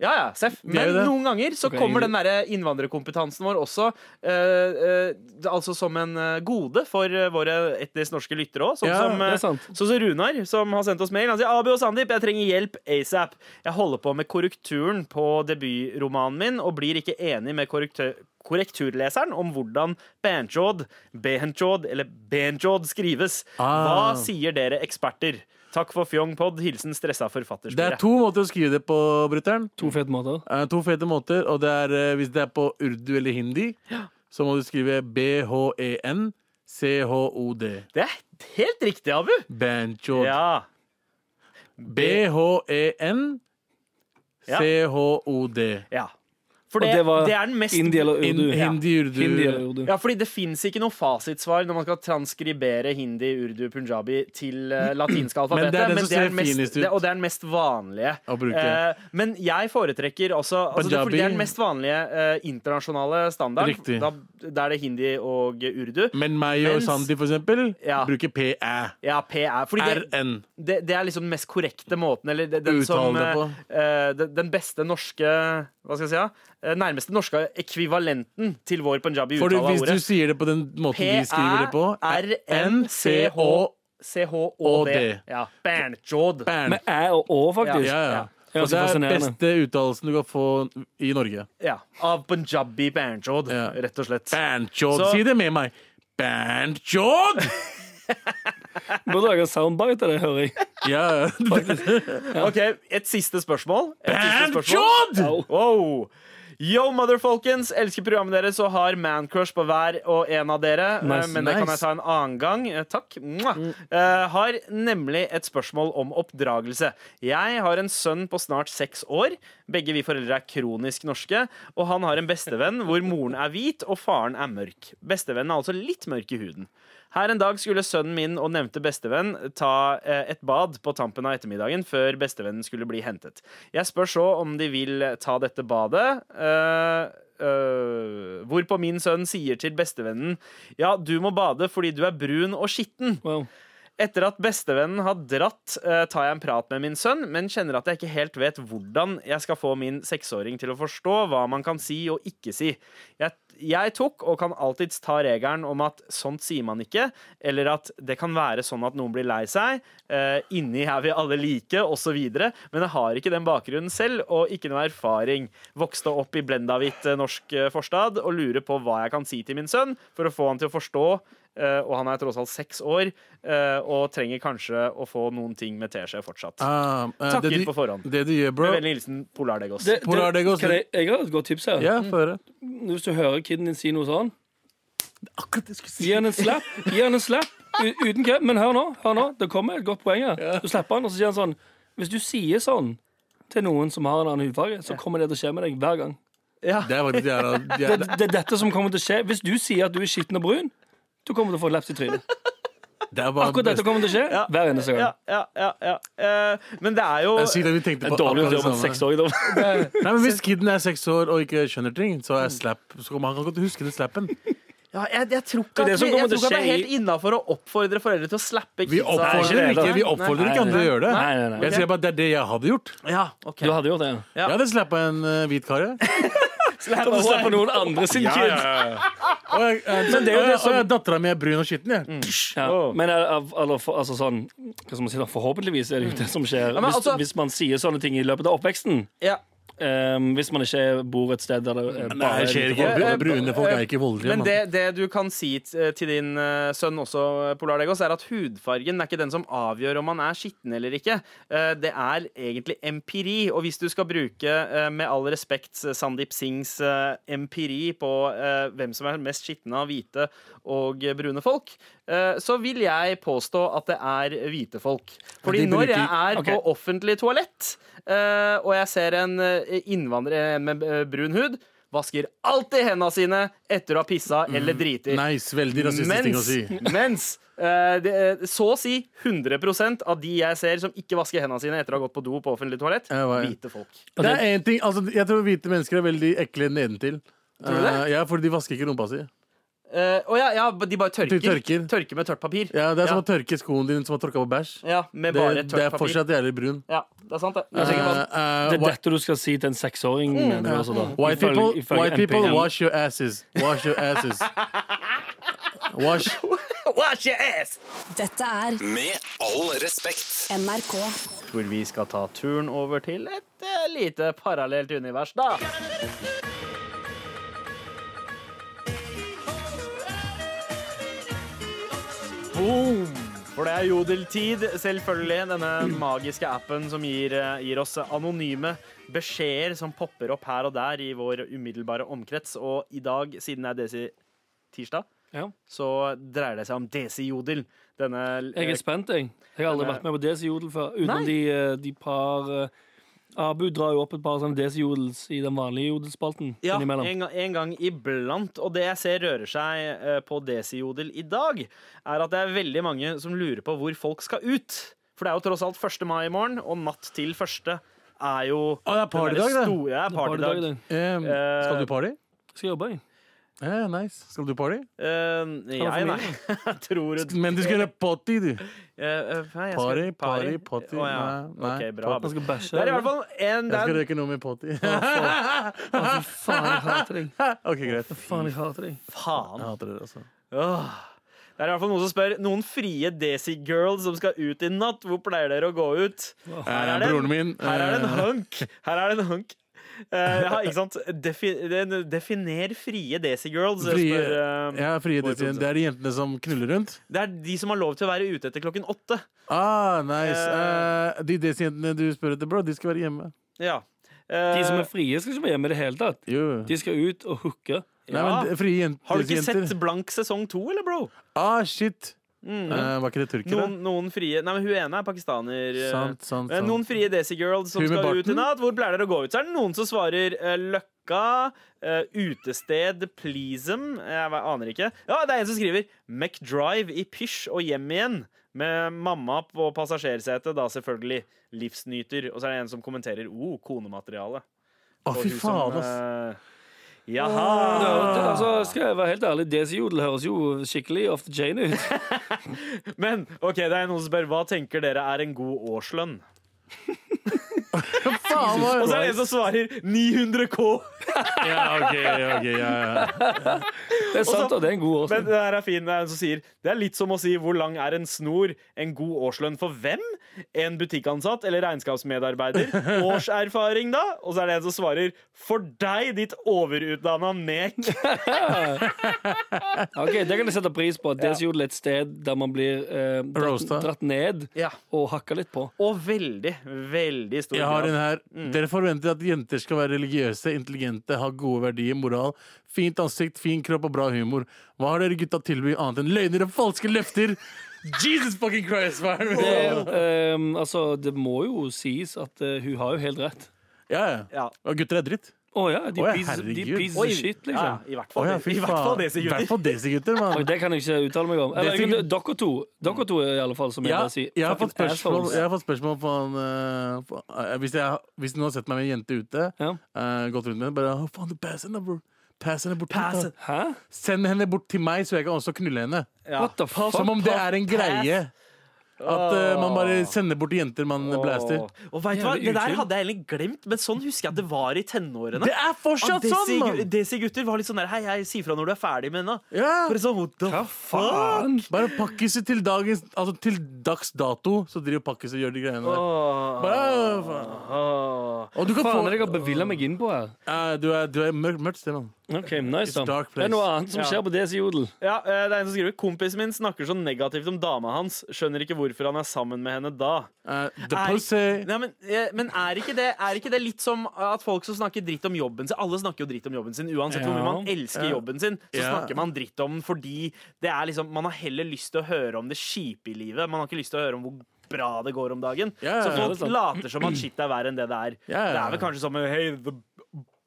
C: Ja, ja, seff. Men
E: gjør det.
C: noen ganger så
F: Ok,
C: kommer
F: jeg-
C: den derre innvandrerkompetansen vår også eh, eh, altså som en eh, gode for eh, våre etnisk norske lyttere òg. Sånn
E: Ja,
C: som eh,
F: det er sant.
C: Sånn som Runar, som har sendt oss mail. Han sier Abu og Sandeep, jeg trenger hjelp asap. Jeg holder på med korrekturen på debutromanen min og blir ikke enig med korrektu- korrekturleseren om hvordan Benjod, Benjod eller Benjod skrives.
E: Ah.
C: Hva sier dere eksperter? Takk for fjongpod. Hilsen stressa
E: Det er
C: forfatterspillet.
E: to måter å skrive det på, brutter'n.
F: To fete måter.
E: Eh, To fete måter, og det er eh, hvis det er på urdu eller hindi, så må du skrive E B-H-E-N-C-H-O-D.
C: Det er helt riktig, Abu.
E: Banchod.
C: Ja.
E: E B-H-E-N-C-H-O-D.
C: ja. For
F: Og
C: det,
F: det
C: det,
F: var
C: er den mest
F: Hindi eller
E: In-
F: urdu.
E: Hindi, urdu.
F: Hindi eller urdu.
C: Ja, fordi det fins ikke noe fasitsvar når man skal transkribere hindi, urdu, punjabi til eh, latinske
E: Men
C: alfabetet.
E: det er den som ser
C: den mest-
E: finest ut.
C: det- og det er den mest vanlige.
E: Å bruke.
C: Eh, men jeg foretrekker også altså, det,
E: Punjabi.
C: fordi det er den mest vanlige eh, internasjonale standard.
E: Riktig.
C: Da, da er det hindi og urdu.
E: Men meg og
C: Mens-
E: Sandy, for eksempel,
C: Ja.
E: bruker P-æ.
C: Ja, P er fordi det,
E: R-N.
C: det, det er liksom den mest korrekte måten, eller det- den
E: Uttale
C: som
E: det på.
C: eh, eh, den- Den beste norske Hva skal jeg si? Ja? Eh, Nærmeste norske ekvivalenten til vår
E: For
C: punjabi-uttale av
E: hvis
C: ordet.
E: du sier det på den måten vi skriver det på N-C-H
C: P-æ-r-n-c-h-o-d. Ja. Bernjod.
E: Bern.
F: Med æ og å, faktisk.
E: Ja, ja.
F: Ja,
E: Og
F: så
E: det er den
F: fascinerende.
E: beste uttalelsen du kan få i Norge.
C: Ja. Av punjabi bernjod,
E: Ja.
C: rett og slett.
E: Banchod.
C: Så-
E: Si det med meg. Banchod!
F: Burde lage en soundbite av det, hører jeg.
E: Ja,
C: Ok, Et siste spørsmål. Et siste spørsmål.
E: Banchod!
C: Wow. Yo, motherfolkens! Elsker programmet deres og har mancrush på hver og en av dere. Eh,
F: Nice,
C: men det kan
E: nice.
C: jeg ta en annen gang. Eh, Takk. Mwah. Eh, har nemlig et spørsmål om oppdragelse. Jeg har en sønn på snart seks år. Begge vi foreldre er kronisk norske. Og han har en bestevenn hvor moren er hvit og faren er mørk. Bestevennen er altså litt mørk i huden. Her en dag skulle sønnen min og nevnte bestevenn ta eh, et bad på tampen av ettermiddagen før bestevennen skulle bli hentet. Jeg spør så om de vil ta dette badet. Eh, øh, hvorpå min sønn sier til bestevennen Ja, du må bade fordi du er brun og skitten.
F: Wow.
C: Etter at bestevennen har dratt, eh, tar jeg en prat med min sønn, men kjenner at jeg ikke helt vet hvordan jeg skal få min seksåring til å forstå hva man kan si og ikke si. Jeg, jeg tok, og kan alltids ta regelen om at sånt sier man ikke, eller at det kan være sånn at noen blir lei seg, eh, inni er vi alle like, osv., men jeg har ikke den bakgrunnen selv, og ikke noe erfaring. Vokste opp i Blendavit eh, norsk eh, forstad, og lurer på hva jeg kan si til min sønn for å få han til å forstå Eh, og han er tross alt seks år eh, og trenger kanskje å få noen ting med teskje fortsatt.
E: Ah, eh,
C: Takk
E: det
C: inn
E: du-
C: på forhånd.
E: Det du gjør, bro
C: Med vennlig hilsen Polardegos.
F: Det, det,
E: Polar, det går-
F: kan jeg, jeg har et godt tips her.
E: Ja, få høre.
F: Hvis du hører kiden din si noe sånn,
E: Akkurat det jeg skulle
F: gi han en slapp. Gi han en slapp u- uten kø. Men hør nå, hør nå, det kommer et godt poeng her. Du slapper han, og så sier han sånn Hvis du sier sånn til noen som har en annen hudfarge, så kommer det til å skje med deg hver gang.
C: Ja.
E: Det er faktisk jævla det
F: Det,
E: er-
F: det er dette som kommer til å skje. Hvis du sier at du er skitten og brun, du kommer til å få laps i trynet.
E: det er bare
F: Akkurat dette kommer til å skje hver eneste
C: Ja,
F: gang.
C: ja, ja, ja. Eh, men det er jo
E: Jeg sier det vi tenkte
F: Det
E: på
F: er dårlig å
E: akkurat det
F: gjøre med en
E: samme.
F: seksåring. da.
E: Nei, men Hvis kiden er seks år og ikke skjønner ting, så er slap Så kommer han kan godt huske den slappen.
C: ja, jeg, jeg tror
F: Det
C: ikke
F: er det
C: at,
F: som
C: vi, jeg
F: kommer til
C: tror ikke at det
F: å
C: er
F: skje
C: helt innafor å oppfordre foreldre til å slappe
E: Vi
C: kidsa.
E: oppfordrer
F: det, da.
E: ikke, vi oppfordrer
F: Nei,
E: ikke andre til å gjøre det.
F: Nei, nei, nei.
E: Jeg sier bare at det er det jeg hadde gjort.
C: Ja, ok
F: Du hadde gjort det. ja.
E: Jeg hadde slappa en eh, hvit kar. jeg.
F: Kan du slappe noen andre sin
E: Ja,
F: kid?
E: ja, ja. Og jeg- jeg-
F: Men det er jo
E: og
F: det
E: jeg-
F: som- Mm.
E: og jeg- Dattera mi er brun og skitten, jeg.
F: Ja,
C: Åh.
F: Men er- av- eller, for, altså sånn, hva skal man si da, forhåpentligvis er det jo det som skjer.
C: men
F: hvis,
C: altså-
F: hvis man sier sånne ting i løpet av oppveksten.
C: Ja.
F: ehm, hvis man ikke bor et sted der det er bare
E: Nei, det skjer ikke. Bru- Brune folk er ikke voldelige.
C: Men
E: mann.
C: det, det du kan si t- til din eh, sønn også, eh, Polardegos, er at hudfargen er ikke den som avgjør om man er skitten eller ikke. Eh, Det er egentlig empiri. Og hvis du skal bruke, eh, med all respekt, eh, Sandeep Singhs eh, empiri på eh, hvem som er mest skitne av hvite og eh, brune folk, eh, så vil jeg påstå at det er hvite folk. Fordi
E: de
C: når jeg
E: bruker-
C: er
F: Ok.
C: på offentlig toalett, eh, og jeg ser en eh, innvandrer en med eh, brun hud, vasker alltid hendene sine etter å ha pissa
E: Mm.
C: eller driti.
E: Nice, veldig rasistisk ting å
C: Mens,
E: si.
C: mens eh, det, eh, så å si 100 av de jeg ser som ikke vasker hendene sine etter å ha gått på do på offentlig toalett,
E: Ja, hva er-
C: hvite folk.
E: Det er en ting, altså Jeg tror hvite mennesker er veldig ekle nedentil.
C: Tror du det?
E: Eh, ja, fordi de vasker ikke rumpa si.
C: Eh, Å ja, ja, de bare tørker.
E: De tørker.
C: med tørt papir.
E: Ja, Det er som
C: Ja.
E: å tørke skoen din som har tråkka på bæsj.
C: Ja, med
E: Det,
C: bare
E: det
C: tørt
E: er
C: papir.
E: fortsatt jævlig brun.
C: Ja, det er sant, det. Jeg
E: Eh,
C: tenker bare,
E: eh,
F: Det er
E: whi-
F: dette du skal si til en seksåring. mener du, altså, da. Ifølge-
E: White people,
F: ifølge
E: white people
F: MP-en.
E: wash your asses. Wash your asses. Wash.
C: Wash your ass!
D: Dette er
A: Med all respekt.
D: NRK.
C: Hvor vi skal ta turen over til et eh, lite parallelt univers, da. Boom! For det er jodeltid, selvfølgelig. Denne magiske appen som gir, eh, gir oss anonyme beskjeder som popper opp her og der i vår umiddelbare omkrets. Og i dag, siden det er Desi-tirsdag,
F: Ja.
C: så dreier det seg om Desi-jodel. Denne
F: Jeg er spent, jeg. Jeg har aldri vært med på Desi-jodel før. Utenom
C: Eh, Nei.
F: de, eh, de par eh, Abu drar jo opp et par sånne Desi-jodels i den vanlige jodelspalten
C: Ja,
F: innimellom.
C: en, ga- en gang iblant. Og det jeg ser rører seg eh, på Desi-jodel i dag, er at det er veldig mange som lurer på hvor folk skal ut. For det er jo tross alt 1. mai i morgen, og natt til 1. er jo
E: Å, det er partydag, det.
C: Store, det er
F: Par til
C: partydag.
F: dag, det.
E: Em,
F: Eh,
E: skal du party?
F: Skal jobbe, jeg.
E: Eh, nice. Skal du party?
C: Eh, jeg, nei.
F: familie?
C: Jeg tror du
E: Men du skulle potty, du.
C: Eh, eh, nei, jeg skal-
E: Party, party, potty.
C: Å, ja.
E: Nei, nei,
C: Ok, bra.
F: Jeg skal bæsje.
C: Det er i hvert
F: eller?
C: fall en
E: Jeg skal
C: der
E: røyke noe med potty.
F: Å, fy faen, jeg hater deg.
E: OK, greit.
F: Faen, jeg hater deg.
E: Jeg
C: Faen.
E: hater dere, altså.
C: Åh. Det er i hvert fall noen som spør Noen frie Desi-girls som skal ut i natt, hvor pleier dere å gå ut? Her
E: Eh,
C: er det en-
E: broren min
C: Her er det en
E: eh,
C: hunk. Her er det en hunk. Eh, ja, ikke sant? Defi den- definer frie Desi-girls. jeg
E: Frie-
C: spør, eh,
E: ja, frie
C: vår
E: designere. Det er de jentene som knuller rundt?
C: Det er de som har lov til å være ute etter klokken åtte.
E: Ah, nice.
C: Eh.
E: Eh, de designjentene du spør etter, bro, de skal være hjemme.
C: Ja.
F: De som
C: Eh,
F: er frie, skal ikke være hjemme i det hele tatt.
E: Jo.
F: De skal ut og hooke.
E: Nei, men de- frie jent-
C: Eh, har du ikke
E: designjenter.
C: sett Blank sesong to, eller, bro?
E: Ah, shit!
C: Mm.
E: Eh, var ikke det tyrkere?
C: Noen, noen frie Nei, men hun ene er pakistaner. eh.
E: sant, sant,
C: Men
E: sant.
C: noen frie Desi-girls som
E: Hun med
C: skal ut i
E: barten?
C: natt. Hvor pleier dere å gå ut? Så er det noen som svarer eh, Løkka, eh, utested, Pleasem eh, Jeg ve- aner ikke. Ja, det er en som skriver McDrive i pysj og hjem igjen. Med mamma på passasjersetet, da selvfølgelig. Livsnyter. Og så er det en som kommenterer oh, konemateriale.
E: Å,
C: Og
E: fy
C: hun som,
E: faen, ass!
C: eh, Jaha.
F: Det- Altså, skal jeg være helt ærlig, Desi-jodel høres jo skikkelig off the chain ut.
C: Men ok, det er noen som spør hva tenker dere er en god årslønn?
E: Faen,
C: Og så
E: hva-
C: er det en som svarer 900 K!
E: Ja, OK, ok, ja, ja.
F: Det er sant, og det er en god
C: Men
F: årsak.
C: det her er fin, det er en som sier Det er litt som å si hvor lang er en snor En god årslønn for hvem? En butikkansatt eller regnskapsmedarbeider? Årserfaring da? Og så er det en som svarer For deg, ditt overutdanna nek
F: Ok, Det kan jeg sette pris på. Desi-jodel er et sted der man blir eh, dratt,
E: Roasta.
F: dratt ned
C: Ja
F: og hakka litt på.
C: og veldig, veldig stor
E: Jeg har en
C: grad.
E: her. Dere forventer at jenter skal være religiøse, intelligente, ha gode verdier, moral, fint ansikt, fin kropp og bra humor. Hva har dere gutta å tilby annet enn løgner og falske løfter? Jesus fucking Christ! Hva er det?
F: Det,
E: med-
F: ehm, altså, det må jo sies at eh, hun har jo helt rett.
E: Ja, ja.
C: Ja.
E: Og gutter er dritt.
F: Å ja, de
E: Å ja,
F: pieces, de
E: herregud.
F: pieces
C: Oi,
F: of shit,
C: ja, ja,
F: liksom.
C: I hvert
E: Å
C: fall,
E: ja,
C: i
E: fy
C: hvert fall
E: faen.
C: det,
E: I hvert fall desigutter,
F: Oi,
E: mann.
F: det kan jeg ikke uttale meg om. Eller,
E: Desi-
F: dere to, dere to i alle fall, som jeg
E: Ja,
F: bare sier.
E: jeg, har
F: fucking
E: fått spørsmål,
F: assholes.
E: jeg har fått spørsmål på han eh, på, eh, hvis, jeg, hvis noen har sett meg med en jente ute,
F: Ja.
E: eh, gått rundt med henne, bare «Å, faen, pass henne, bro. Pass henne bort.
C: Pass
E: hit, da.
F: Hæ?
E: Send henne bort til meg, så jeg kan også knulle henne.
C: Ja.
F: What the fuck?
E: Som om det er en greie. At eh, man bare sender bort jenter man blaster.
C: Åh. Og vet du hva,
F: Jævlig
C: det der
F: utrygt.
C: hadde jeg egentlig glemt Men sånn husker jeg at det var i tenårene Ah,
E: Det er fortsatt sånn, mann!
C: Desi-gutter var litt sånn der Hei, hei, si fra når du er ferdig med henne
E: Ja.
C: Bare sånn, what the
F: Hva
C: fuck?
F: faen?
E: Bare pakkiser til dagens Altså til dags dato, så driver pakkiser og gjør de greiene der.
C: Åh.
E: Bare, «Å, faen».
C: Åh.
E: Og du
F: Hva
E: kan
F: faen
E: få
F: er det jeg har bevilla meg inn på her?
E: Eh, Du er, du er mørkt, mørkt sted, mann.
F: Ok, nice
E: It's
F: da
E: dark
F: Det er
E: place.
F: noe annet som
C: Ja.
F: skjer på Desi-jodel.
C: Ja, eh, det er en som skriver Kompisen min snakker så negativt om dama hans. Skjønner ikke hvorfor han er sammen med henne da.
E: Eh, the
C: Er-
E: pussy.
C: Nei, men eh, men er, ikke det, er ikke det litt som at folk som snakker dritt om jobben sin Alle snakker jo dritt om jobben sin. Uansett hvor mye
F: Ja.
C: man elsker
E: Ja.
C: jobben sin, så
E: Ja.
C: snakker man dritt om den fordi det er liksom, man har heller lyst til å høre om det kjipe i livet. Man har ikke lyst til å høre om hvor bra det går om dagen.
E: Ja,
C: så
E: ja,
C: folk
F: det er sant.
C: later som at shit er verre enn det det er.
E: Ja, ja.
C: Det er vel kanskje som eh, Hey, the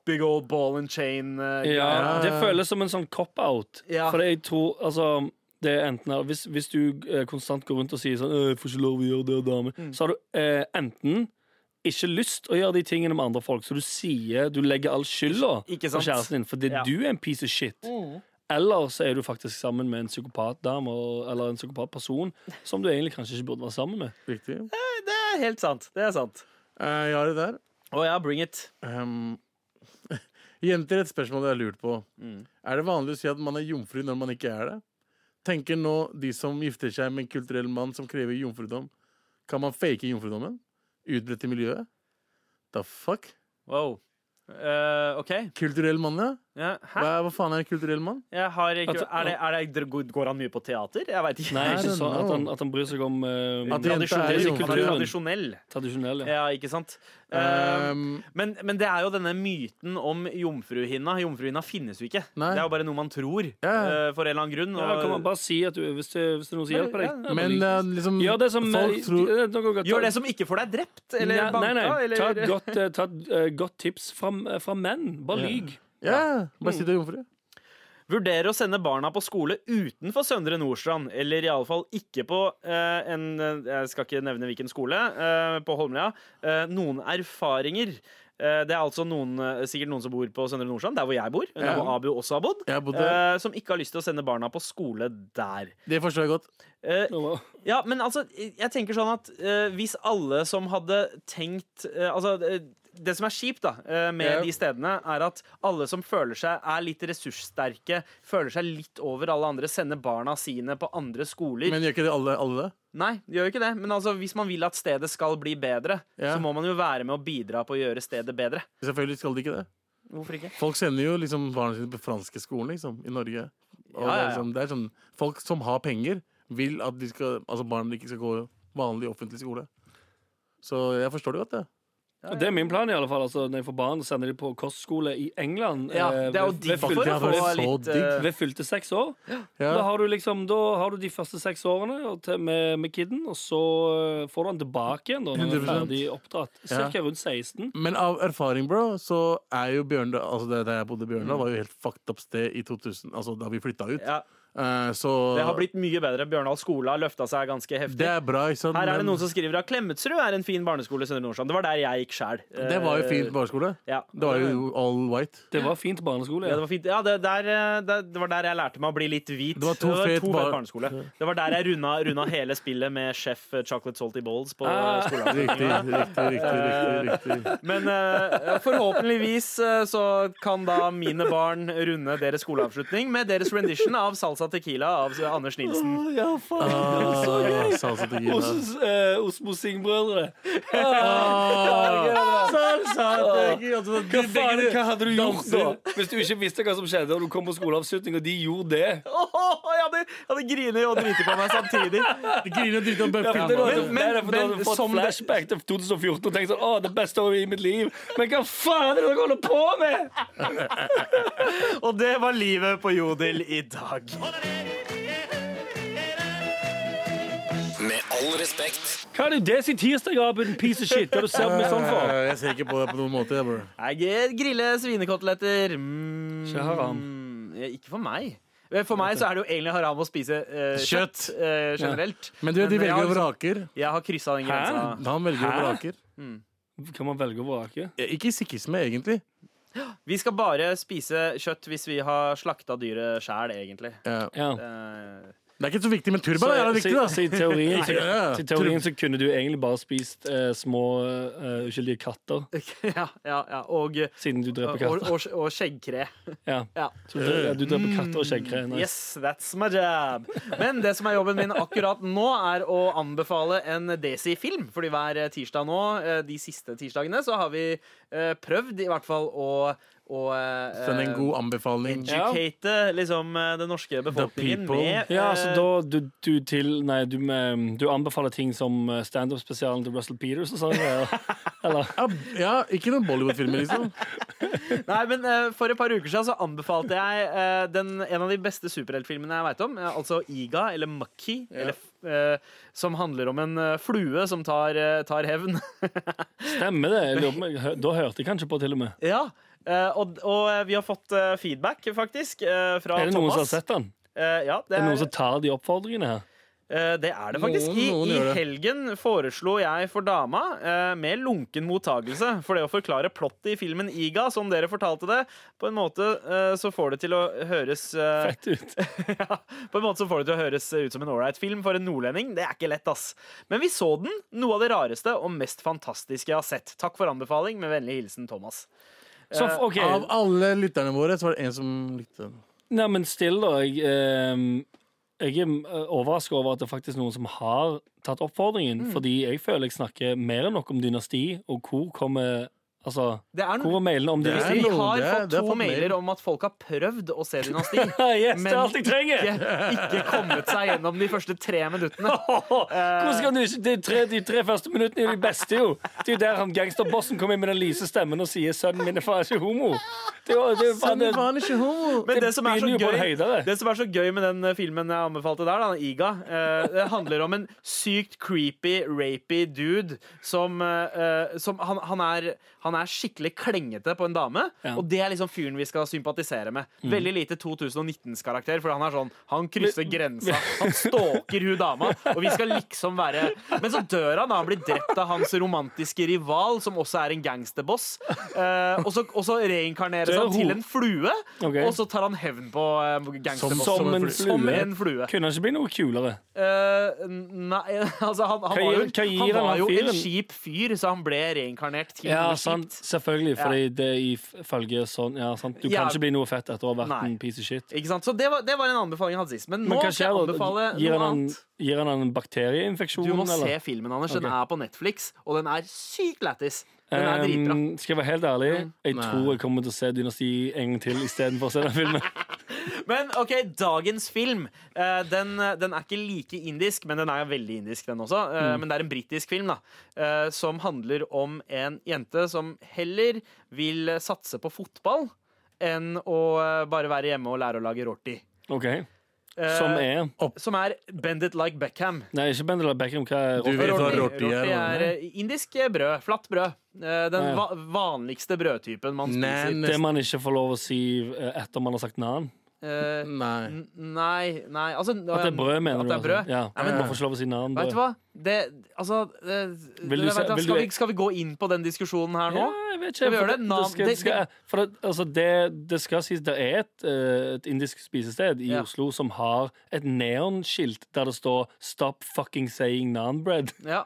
C: big old ball and chain. eh,
F: Ja,
E: Ja.
F: det føles som en sånn cop-out.
C: Ja.
F: For jeg tror altså det er enten, her- hvis, hvis du eh, konstant går rundt og sier sånn «Øh, 'Jeg får ikke lov å gjøre det, dame', så har du eh, enten ikke lyst å gjøre de tingene med andre folk, så du sier Du legger all skylda
C: Ikke
F: på
C: sant?
F: kjæresten din fordi
C: Ja.
F: du er en piece of shit. Eller så er du faktisk sammen med en psykopatdame og- eller en psykopatperson som du egentlig kanskje ikke burde være sammen med.
E: Riktig.
C: Det er helt sant. Det er sant.
E: Eh, jeg har det der.
C: Å ja, bring it.
E: Ehm, jenter, et spørsmål jeg har lurt på. Er det vanlig å si at man er jomfru når man ikke er det? Tenker nå de som gifter seg med en kulturell mann som krever jomfrudom. Kan man fake jomfrudommen? Utbredt i miljøet? The fuck?
C: Wow. Eh, OK.
E: Kulturell mann, ja?
C: Ja, hæ?
E: Hva, hva faen er en kulturell mann?
C: Jeg har ikke,
F: Altså,
C: er det, er det, går han mye på teater? Jeg veit ikke.
F: Nei,
E: I
F: ikke
E: don't
F: sånn at han,
E: know.
F: at han bryr seg om eh,
E: At det- jenta er
C: Tradisjonell.
E: jomfru.
C: Han er tradisjonell.
F: tradisjonell. Ja.
C: Ja, ikke sant? Eh,
E: Ehm,
C: men, men det er jo denne myten om jomfruhinna. Jomfruhinna finnes jo ikke.
E: Nei.
C: Det er jo bare noe man tror,
E: Ja.
C: eh, for en eller annen grunn.
F: Ja, kan man
C: Og,
F: bare si at du, hvis, det, hvis det er noen som hjelper deg.
C: Ja,
E: men det er liksom
F: Gjør det som
E: Folk tror
F: eh, noe godt.
C: Mm. gjør det som ikke får deg drept eller
F: Nei,
C: banka.
F: nei, nei.
C: Eller,
F: Ta et godt, eh, ta et eh, godt tips fra, fra menn. Bare lyg.
E: Ja, bare si du er jomfru.
C: Vurdere å sende barna på skole utenfor Søndre Nordstrand, eller iallfall ikke på eh, en eh, Jeg skal ikke nevne hvilken skole. Eh, på Holmlia. Eh, noen erfaringer. Eh, det er altså noen, eh, sikkert noen som bor på Søndre Nordstrand, der hvor jeg bor, der hvor Abu også har bodd,
E: Jeg har bodd der.
C: eh, som ikke har lyst til å sende barna på skole der.
E: Det forstår jeg godt.
C: Eh,
F: Nå-
C: ja, men altså, jeg tenker sånn at eh, hvis alle som hadde tenkt eh, Altså, eh, det som er kjipt da, eh, med
E: Ja.
C: de stedene, er at alle som føler seg er litt ressurssterke, føler seg litt over alle andre, sender barna sine på andre skoler.
E: Men gjør ikke det alle, alle det?
C: Nei, det gjør jo ikke det. Men altså, hvis man vil at stedet skal bli bedre,
E: Ja.
C: så må man jo være med å bidra på å gjøre stedet bedre.
E: Selvfølgelig skal de ikke det.
C: Hvorfor ikke?
E: Folk sender jo liksom barna sine på franske skolen liksom, i Norge.
C: Ja,
E: Og
C: ja, ja.
E: Det, er liksom, det er sånn, folk som har penger, vil at de skal, altså barna ikke skal gå vanlig offentlig skole. Så jeg forstår det godt, det.
F: Det er min plan, i alle fall. Altså, når jeg får barn, sender de på kostskole i England.
C: Ja,
F: eh,
C: det er jo
F: ved- ved
C: derfor
E: fullt-
C: å
E: det
F: fylte-
E: hadde
C: få
E: vært så
C: litt eh,
F: Ved fylte seks år. Da,
E: Ja.
F: har du liksom, da har du de første seks årene og til, med, med kiden, og så eh, får du han tilbake igjen da, når han er
E: 100%.
F: ferdig oppdratt.
E: Ja.
F: Cirka rundt 16.
E: Men av erfaring, bro, så er jo Bjørndal Altså det der jeg bodde i Bjørndal, var jo helt fucked up sted i 2000, altså da vi flytta ut.
C: Mm. Ja,
E: Eh, så
C: det har blitt mye bedre. Bjørndal skole har løfta seg ganske heftig.
E: Det er bra, ikke sant?
C: Her er det
E: men
C: noen som skriver at Klemetsrud er en fin barneskole. i Søndre Nordstrand. Det var der jeg gikk Eh, sjæl.
E: det var jo fin barneskole.
C: Ja.
E: Det var jo all white.
F: Det var fint barneskole.
C: Ja, det var fint. Ja, det, der, eh, der, det var der jeg lærte meg å bli litt hvit.
E: Det var to fet
C: to
E: bar-
C: barneskole. Det var der jeg runda, runda hele spillet med Chef eh, Chocolate Salty Balls på
F: Ah.
C: eh, skolen.
E: Riktig, riktig, riktig. riktig, riktig.
C: Men eh, forhåpentligvis eh, så kan da mine barn runde deres skoleavslutning med deres rendition av Salsa Tequila av Anders Nilsen.
F: ja, faen.
E: Ah, salsa tequila.
F: Os, eh, Osmo Sing-brødre. Ah.
E: Salsa tequila. Altså,
F: Hva
E: de-
F: faen,
E: begge-
F: hva hadde du gjort
E: danser.
F: da? Hvis du ikke visste hva som skjedde, og du kom på skoleavslutning, og de gjorde det?
C: Åh, jeg hadde, jeg hadde grinet og driti på meg samtidig.
E: De griner og driter om bøff.
F: Men, men,
C: men-
F: men,
C: men
F: fått
C: som det-
F: flashback til 2014 og tenkt sånn Å, det beste året i mitt liv. Men hva faen er det dere holder på med?!
C: Og det var livet på Jodel i dag.
A: Med all respekt.
F: Hva er det det sier tirsdag, Aben? Piece of shit. Hva er det du ser på meg sånn for?
E: Jeg ser ikke på det på noen måte. Jeg, bro.
C: Jeg grille svinekoteletter. Mm.
F: Ikke haram.
C: Ja, Ikke for meg. Eh, For meg så er det jo egentlig haram å spise eh, kjøtt,
E: Kjøtt.
C: eh, generelt.
E: Men du, de
C: jeg
E: velger
C: har
E: og
C: liksom-
E: vraker.
C: Jeg har kryssa den
F: Hæ?
C: grensa.
E: Han velger og
F: Hæ?
E: vraker.
F: Kan man velge å vrake?
E: Ja, Ikke sikhisme, egentlig.
C: Vi skal bare spise kjøtt hvis vi har slakta dyret sjæl, egentlig.
E: Ja.
F: Ja.
C: Eh,
E: Det er ikke så viktig, men turban er
F: Så,
E: jævla
F: så,
E: viktig, da.
F: så i teorien, så,
E: Ja, ja.
F: så i teorien så kunne du egentlig bare spist eh, små eh, uskyldige katter,
C: ja, ja, ja. Og,
F: siden du dreper
C: og,
F: katter.
C: og, og skjeggkre.
F: Ja.
C: Ja.
F: Så du, ja, du dreper katter og skjeggkre. Nice.
C: Yes, that's my job. Men det som er jobben min akkurat nå, er å anbefale en Desi-film. Fordi hver tirsdag nå, eh, de siste tirsdagene, så har vi eh, prøvd i hvert fall å, å eh,
E: Send en god anbefaling.
F: Ja.
C: educate liksom, eh, den norske befolkningen
E: people.
C: med eh,
F: Ja, så da du, du til Nei, du, med, du anbefaler ting som eh, standup-spesialen til Russell Peters og sånn? Eller, eller
E: Ja, ja, ikke noen Bollywood-filmer, liksom.
C: Nei, men eh, For et par uker siden så anbefalte jeg eh, den, en av de beste superheltfilmene jeg veit om. eh, altså Iga, eller Mucky, eller, f- eh, som handler om en eh, flue som tar, eh, tar hevn.
F: stemmer det? Jeg lurer på om jeg hø- Da hørte jeg kanskje på, til og med.
C: Ja, eh, og, og eh, vi har fått eh, feedback, faktisk, eh, fra
F: Er det noen som har
C: Thomas.
F: sett den?
C: Eh, ja, det er,
F: Er det noen som tar de oppfordringene her?
C: Eh, Det er det faktisk.
E: Noen- noen
C: I,
E: gjør
C: I
E: det.
C: helgen foreslo jeg for dama, eh, med lunken mottagelse, for det å forklare plottet i filmen Iga, som dere fortalte det, på en måte eh, så får det til å høres eh,
F: Fett ut.
C: ja, på en måte så får det til å høres ut som en ålreit film for en nordlending. Det er ikke lett, ass. Men vi så den. Noe av det rareste og mest fantastiske jeg har sett. Takk for anbefaling. Med vennlig hilsen Thomas.
F: Så, f- OK.
E: Av alle lytterne våre så var det en som likte den.
F: Nei, men still, da. Jeg, ehm, jeg er overraska over at det er faktisk noen som har tatt
C: Mm.
F: oppfordringen. Fordi jeg føler jeg snakker mer enn nok om dynasti, og hvor kommer Altså,
C: Det er
F: hvor er mailene om
E: Det er
F: dynasti?
C: Vi
E: noe,
C: har
E: det er-
C: fått
E: det er
C: to
E: fått mail.
C: mailer om at folk har prøvd å se Dynasti,
F: yes, det
C: men
F: er alt jeg trenger!
C: ikke, ikke kommet seg gjennom de første tre minuttene.
F: Hvordan kan du ikke De tre, de tre første minuttene er de beste, jo. Det er jo der han gangsterbossen kommer inn med den lyse stemmen og sier 'sønnen min er faen ikke homo'. Det er jo- det er jo faen-
E: Sånn
F: det-
E: var det ikke homo.
C: Men det, som er så
F: begynner jo på en
C: gøy,
F: høyde, det.
C: det som er så gøy med den eh, filmen jeg anbefalte der, da, Iga, eh, det handler om en sykt creepy, rapey dude som, eh, som han, han, er, han er skikkelig klengete på en dame,
F: Ja. Mm.
C: og det er liksom fyren vi skal sympatisere med. Veldig lite 2019s-karakter, for han er sånn Han krysser grensa. Han stalker hun dama, og vi skal liksom være Men så dør han, da. Han blir drept av hans romantiske rival, som også er en gangsterboss, eh, og så- og så reinkarneres
F: Dør
C: han til
F: hun?
C: en flue,
F: Ok.
C: og så tar han hevn på uh,
E: Som-
C: gangsterboss.
F: Som en
E: som
C: Som
F: flue.
C: en flue.
F: Kunne han ikke bli noe kulere?
C: Eh, nei, altså han, han
F: Hva
C: var jo,
F: gir- hva gir
C: han
F: han
C: var jo en
F: fyren?
C: kjip fyr, så han ble reinkarnert til
F: Ja,
C: noe
F: sant.
C: kjipt.
F: Selvfølgelig, fordi det ifølge sånn Ja, sant. Du
C: Ja.
F: kan ikke bli noe fett etter å ha vært
C: Nei.
F: en piece of shit.
C: Ikke sant? Så det var, det var en anbefaling jeg hadde sist. Men nå
F: Men
C: skal
F: hva
C: jeg
F: skjer da?
C: anbefale
F: Gir
C: noe
F: han, en,
C: annet.
F: gir han en bakterieinfeksjon,
C: Du må se
F: eller?
C: filmen, Anders. Den
F: Ok.
C: er på Netflix, og den er sykt lættis. Den er dritbra. Mm.
F: Ehm, skal jeg være helt ærlig, jeg
E: Nei.
F: tror jeg kommer til å se Dynasti en gang til istedenfor å se den filmen.
C: Men ok, dagens film eh, den, den er ikke like indisk, men den er veldig indisk, den også. Eh,
F: Mm.
C: Men det er en britisk film da eh, som handler om en jente som heller vil satse på fotball enn å eh, bare være hjemme og lære å lage rorti.
F: Ok,
C: Eh,
F: Som er
C: Som er Bend it like Beckham.
F: Nei, ikke Bendela Beckham. Hva er
E: Du
F: Rob-
E: vet hva
C: Rorti-
E: rorti er,
C: rorti er
E: eller?
C: eh, indisk brød. Flatt brød. Eh, Den
F: Ja.
C: va vanligste brødtypen man spiser.
E: Nan.
F: Det man ikke får lov å si eh, etter man har sagt nan.
C: Eh,
E: Nei.
C: n- Nei, nei altså,
F: At det er brød, mener
C: at
F: du?
C: det er
F: altså.
C: brød.
F: Ja,
C: Nei, men-
F: Man får ikke lov å si nan.
C: Vet du hva? Det, altså, det,
F: Vil du
C: det-
F: se-
C: vet du hva,
F: vil
C: skal,
F: du- e-
C: vi, skal vi gå inn på den diskusjonen her nå?
F: Ja, jeg vet ikke.
C: Skal vi
F: for
C: gjøre det? Nan-
F: skal,
C: det-
F: det, skal, for det, altså det, det skal sies det er et, eh, et indisk spisested i
C: Ja.
F: Oslo som har et neonskilt der det står 'Stop fucking saying nanbread'.
C: Ja.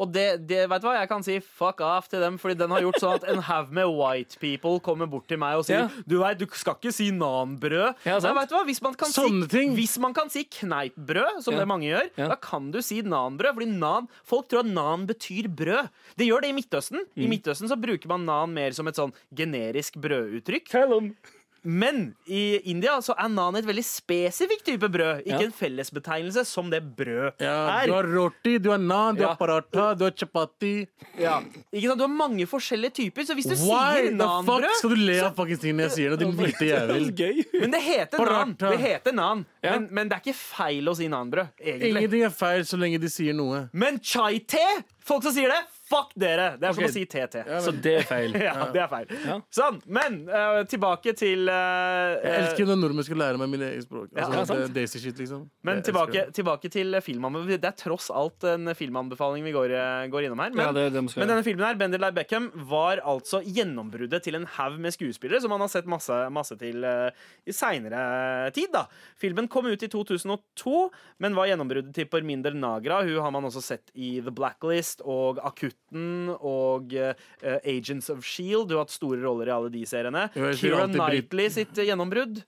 C: Og det, det, vet du hva, jeg kan si fuck off til dem, fordi den har gjort sånn at en haug med white people kommer bort til meg og sier
F: Ja.
C: Du vet, du skal ikke si nanbrød.
F: Ja, sant.
C: Nei, vet du hva, hvis man kan
E: Sånne
C: si,
E: ting.
C: hvis man kan si kneippbrød, som
F: Ja.
C: det mange gjør,
F: Ja.
C: da kan du si nanbrød. Fordi nan, folk tror at nan betyr brød. Det gjør det i Midtøsten.
F: Mm.
C: I Midtøsten så bruker man nan mer som et sånn generisk brøduttrykk.
F: Tell them.
C: Men i India så er nan et veldig spesifikk type brød. Ikke
F: Ja.
C: en fellesbetegnelse som det brød
E: Ja, du
C: er.
E: har rorti, du har nan, du
C: Ja.
E: har paratha, du har chapati.
C: Ja. Ikke sant? Du har mange forskjellige typer, så hvis du
E: Why
C: sier
E: the fuck
C: nanbrød
E: skal du le av fuckings tingene jeg sier nå, din hvite jævel?
F: Gøy.
C: Men det heter nan.
E: Paratha.
C: Det heter nan.
F: Ja.
C: Men, men det er ikke feil å si nanbrød, egentlig.
E: Ingenting er feil så lenge de sier noe.
C: Men chai-te! Folk som sier det, fuck dere! Det er som å si TT. Ja.
F: Så det er feil.
C: det er feil.
F: Ja.
C: Sånn. Men eh, tilbake til eh,
E: Jeg
C: eh,
E: elsker når nordmenn skal lære meg mine egne språk.
F: Ja,
E: Altså,
F: sant.
E: det- Daisy shit, liksom.
C: Men
E: Jeg
C: tilbake,
E: elsker det.
C: tilbake til filmanbefaling. Det er tross alt en filmanbefaling vi går, eh, går innom her. Men,
F: Ja, det er det vi skal
C: men
F: gjøre.
C: denne filmen her, Bender Lai Beckham, var altså gjennombruddet til en haug med skuespillere som man har sett masse, masse til eh, i seinere tid. da. Filmen kom ut i 2002, men var gjennombruddet til Porminder Nagra. Hun har man også sett i The Blacklist og Akutten og eh, eh, Agents of Shield. Hun har hatt store roller i alle de seriene.
E: Jo, jeg sier
C: Keira
E: alltid Brit- Mhm.
C: Knightley sitt eh, gjennombrudd.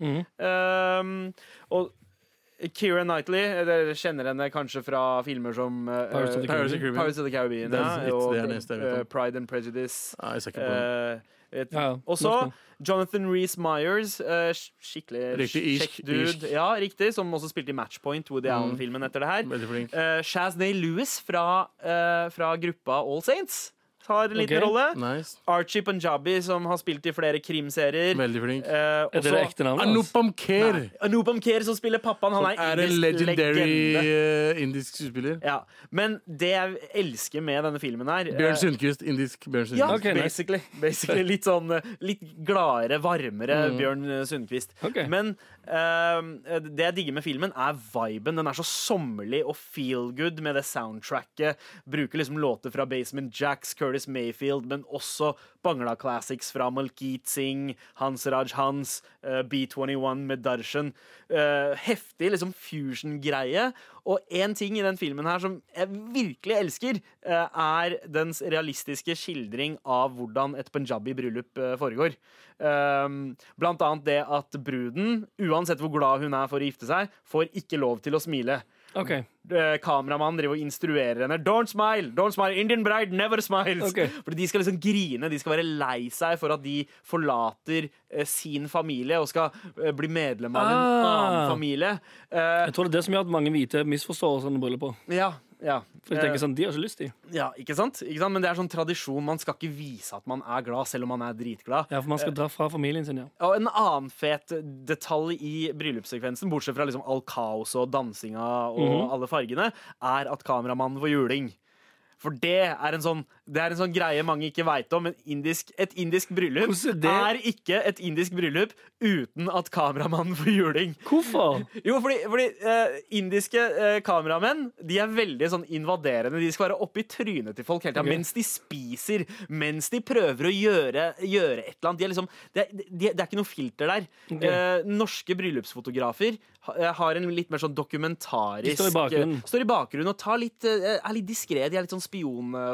C: Ehm, og Keira Knightley, eh, dere kjenner henne kanskje fra filmer som eh,
F: Pirates of the
E: Pirates of the Caribbean.
C: Pirates of the Caribbean,
E: Det er
C: ja,
E: litt-
C: og
E: det er det eneste jeg vet om.
C: eh, Pride and Prejudice.
E: Nei, jeg ser ikke på den.
C: eh, et-
F: Ja, ja.
C: Og så Jonathan Rhys Myers. eh, sk- skikkelig
E: Riktig irsk-
C: kjekk dude.
E: irsk. Mm.
C: Ja, riktig, Som også spilte i Matchpoint, Woody Allen-filmen etter det her.
E: Veldig flink.
C: Uh, Shaznay Lewis fra, eh, fra eh, gruppa All Saints. har en liten
F: Ok.
C: rolle.
E: Nice.
C: Archie Punjabi, som har spilt i flere krimserier.
E: Veldig flink. Ah,
C: Eh,
F: Er det det
C: også
F: ekte navnet hans?
E: Anupam Kher
C: Anupam Kher, som spiller pappaen. Han er,
E: er en
C: indisk
E: legendary
C: legende.
E: eh, indisk skuespiller.
C: Ja. Men det jeg elsker med denne filmen her eh,
E: Bjørn Sundquist. Indisk Bjørn Sundquist.
C: Ja,
F: Ok, nice.
C: basically. basically litt sånn eh, Litt gladere, varmere
E: Mm.
C: Bjørn eh, Sundquist.
F: Ok.
C: Men eh, det jeg digger med filmen, er viben. Den er så sommerlig og feel good med det soundtracket. Bruker liksom låter fra Basement Jacks, Curtis Mayfield, men også Bangla Classics fra Malkeet Singh, Hans Raj Hans, eh, B21 med Darshan. Eh, heftig liksom fusion-greie. Og én ting i den filmen her som jeg virkelig elsker, eh, er dens realistiske skildring av hvordan et punjabi-bryllup eh, foregår. Um, blant annet det at bruden, uansett hvor glad hun er for å gifte seg, får ikke lov til å smile.
F: altså. Ok,
C: Eh, Kameramannen driver og instruerer henne. Don't smile! don't smile, Indian bride never smiles!
F: Ok.
C: Fordi De skal liksom grine, de skal være lei seg for at de forlater eh, sin familie og skal eh, bli medlem av en
F: Ah.
C: annen familie. Eh,
F: Jeg tror det er det som gjør at mange hvite misforstår sånne brylluper.
C: ja, ja.
F: For de
C: Eh,
F: tenker sånn, de har ikke lyst til.
C: ja, ikke sant? ikke sant? Men det er sånn tradisjon. Man skal ikke vise at man er glad, selv om man er dritglad.
F: Ja, for man skal dra fra familien sin, ja.
C: Og en annen fet detalj i bryllupssekvensen, bortsett fra liksom all kaoset og dansinga og alle fargene, er at kameramannen får juling. For det er en sånn, det er en sånn greie mange ikke veit om. En indisk, et indisk bryllup
F: Hvordan
C: er
F: er
C: ikke et indisk bryllup uten at kameramannen får juling.
F: Hvorfor?
C: Jo, fordi, fordi eh, indiske eh, kameramenn De er veldig sånn invaderende. De skal være oppe i trynet til folk hele tiden,
F: Ok.
C: mens de spiser, mens de prøver å gjøre, gjøre et eller annet. De er liksom, det, er, de, det er ikke noe filter der.
F: Ok.
C: Eh, norske bryllupsfotografer ha, eh, har en litt mer sånn
F: De
C: dokumentarisk
F: står i bakgrunnen.
C: eh, står i bakgrunnen og tar litt, eh, er litt diskré. De er litt sånn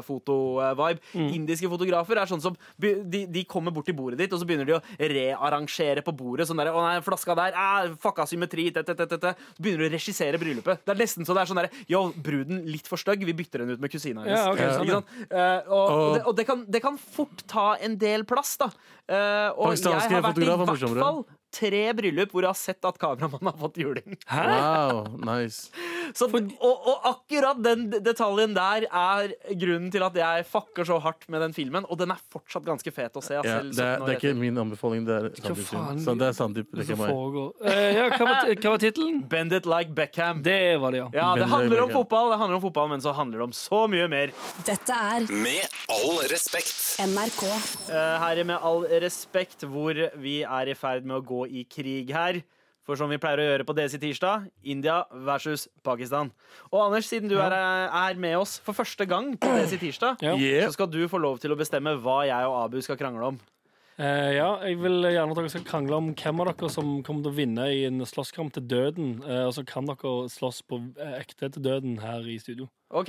C: spionfoto-vibe. Indiske fotografer er sånn som be- de, de kommer bort til bordet ditt, og så begynner de å rearrangere på bordet. Sånn der, 'Å nei, flaska der. Ah, fucka symmetri.' Tett, tett, tett, tett. tett. Så begynner du å regissere bryllupet. Det er nesten så det er sånn derre 'Yo, bruden litt for stygg. Vi bytter henne ut med kusina hennes.'
F: Ja, ok, sånn,
C: Ikke
F: ja.
C: sant? Eh, og og,
E: Og-
C: det, og det, kan, det kan fort ta en del plass, da. Eh, og jeg
E: Pakistanske
C: har vært i
E: fotografer er
C: hvert
E: morsommere.
C: fall tre bryllup hvor jeg har sett at kameramannen har fått juling.
F: Hæ?
E: Wow, nice.
C: Så, og, og akkurat den d- detaljen der er grunnen til at jeg fucker så hardt med den filmen. Og den er fortsatt ganske fet å se. altså,
E: Ja,
C: selv
E: det,
C: 17 år
E: er, det er ikke
C: etter.
E: min anbefaling, det er Sandeep
F: faen?
E: sin. Så det er Sandeep. Det er
F: Som
E: ikke meg.
F: foregår. Eh, ja, hva var, hva var tittelen?
C: Bend it like Beckham.
F: Det var det, ja.
C: ja, det
E: Bend it
C: handler
E: like
C: om
E: Beckham.
C: fotball, det handler om fotball, men så handler det om så mye mer.
D: Dette er
A: Med all respekt.
D: NRK.
C: Eh, her er med all respekt hvor vi er i ferd med å gå i krig her. For som vi pleier å gjøre på DC tirsdag, India versus Pakistan. Og Anders, siden du er, er med oss for første gang på DC tirsdag,
F: Ja.
E: Yeah.
C: så skal du få lov til å bestemme hva jeg og Abu skal krangle om.
F: Eh, ja, jeg vil gjerne at dere skal krangle om hvem av dere som kommer til å vinne i en slåsskamp til døden. Eh, og så kan dere slåss på eh, ekte til døden her i studio.
C: Ok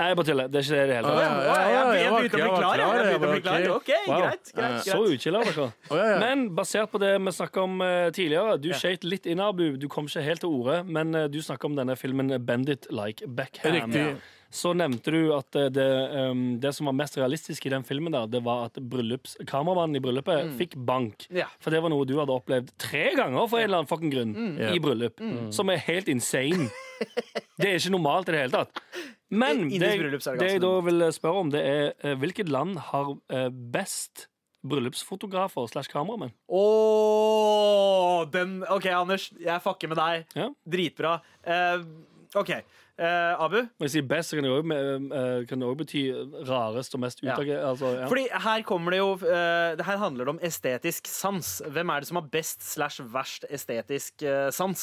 F: Nei, jeg bare tuller. Det er ikke det i det hele
E: Ah,
F: tatt.
E: ja, ja, ja,
C: Jeg
E: jeg var-
C: begynte å
E: jeg
C: bli
E: var
C: klar.
E: klar,
C: jeg. Jeg
E: jeg
C: begynte å
E: var
C: bli klar.
E: ok.
C: Ok,
F: Wow.
C: greit,
E: Ja,
C: greit,
F: Så
C: greit.
F: utskiller dere.
E: Å, ja, ja.
F: Men basert på det vi snakka om eh, tidligere Du skøyt litt inn, Abu. Du kom ikke helt til orde, men eh, du snakka om denne filmen Bandit Like Beckham.
E: Riktig.
F: Så nevnte du at eh, det, ehm, det som var mest realistisk i den filmen, der, det var at bryllups, kameramannen i bryllupet fikk bank.
C: Mm. Ja.
F: For det var noe du hadde opplevd tre ganger for en eller annen fucking grunn
C: Mm.
E: Ja.
F: i bryllup. Som er helt insane. det er ikke normalt i det hele tatt. Men
C: Indisk
F: det, jeg-
C: bryllup så er det
F: det
C: ganske
F: jeg da vil spørre om, det er eh, hvilket land har eh, best bryllupsfotografer slash kameramenn?
C: Åh, den OK, Anders. Jeg fucker med deg.
F: Ja.
C: Dritbra. Eh, OK. Eh, Abu?
F: Når jeg sier best, så kan det òg eh, kan det også bety eh, rarest og mest
C: Ja.
F: utdrag... Altså, ja.
C: Fordi her kommer det jo eh, det Her handler det om estetisk sans. Hvem er det som har best slash verst estetisk eh, sans?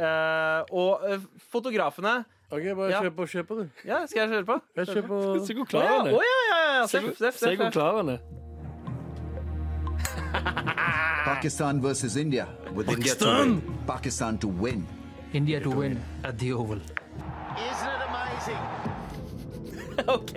C: Eh, og eh, fotografene
E: Ok, bare
C: Ja.
E: kjør på, kjør på, du.
C: Ja, skal jeg kjøre på?
E: Jeg kjør på.
F: Se hvor
C: Å
F: klar
C: ja,
F: han
C: å
F: er.
C: ja, ja, ja.
F: Se
C: Seff,
F: hvor-
C: seff,
F: Se hvor
C: seff.
F: klar han er.
G: Pakistan versus India. With Pakistan. India to win. Pakistan to win.
H: India to win at the Oval.
C: OK.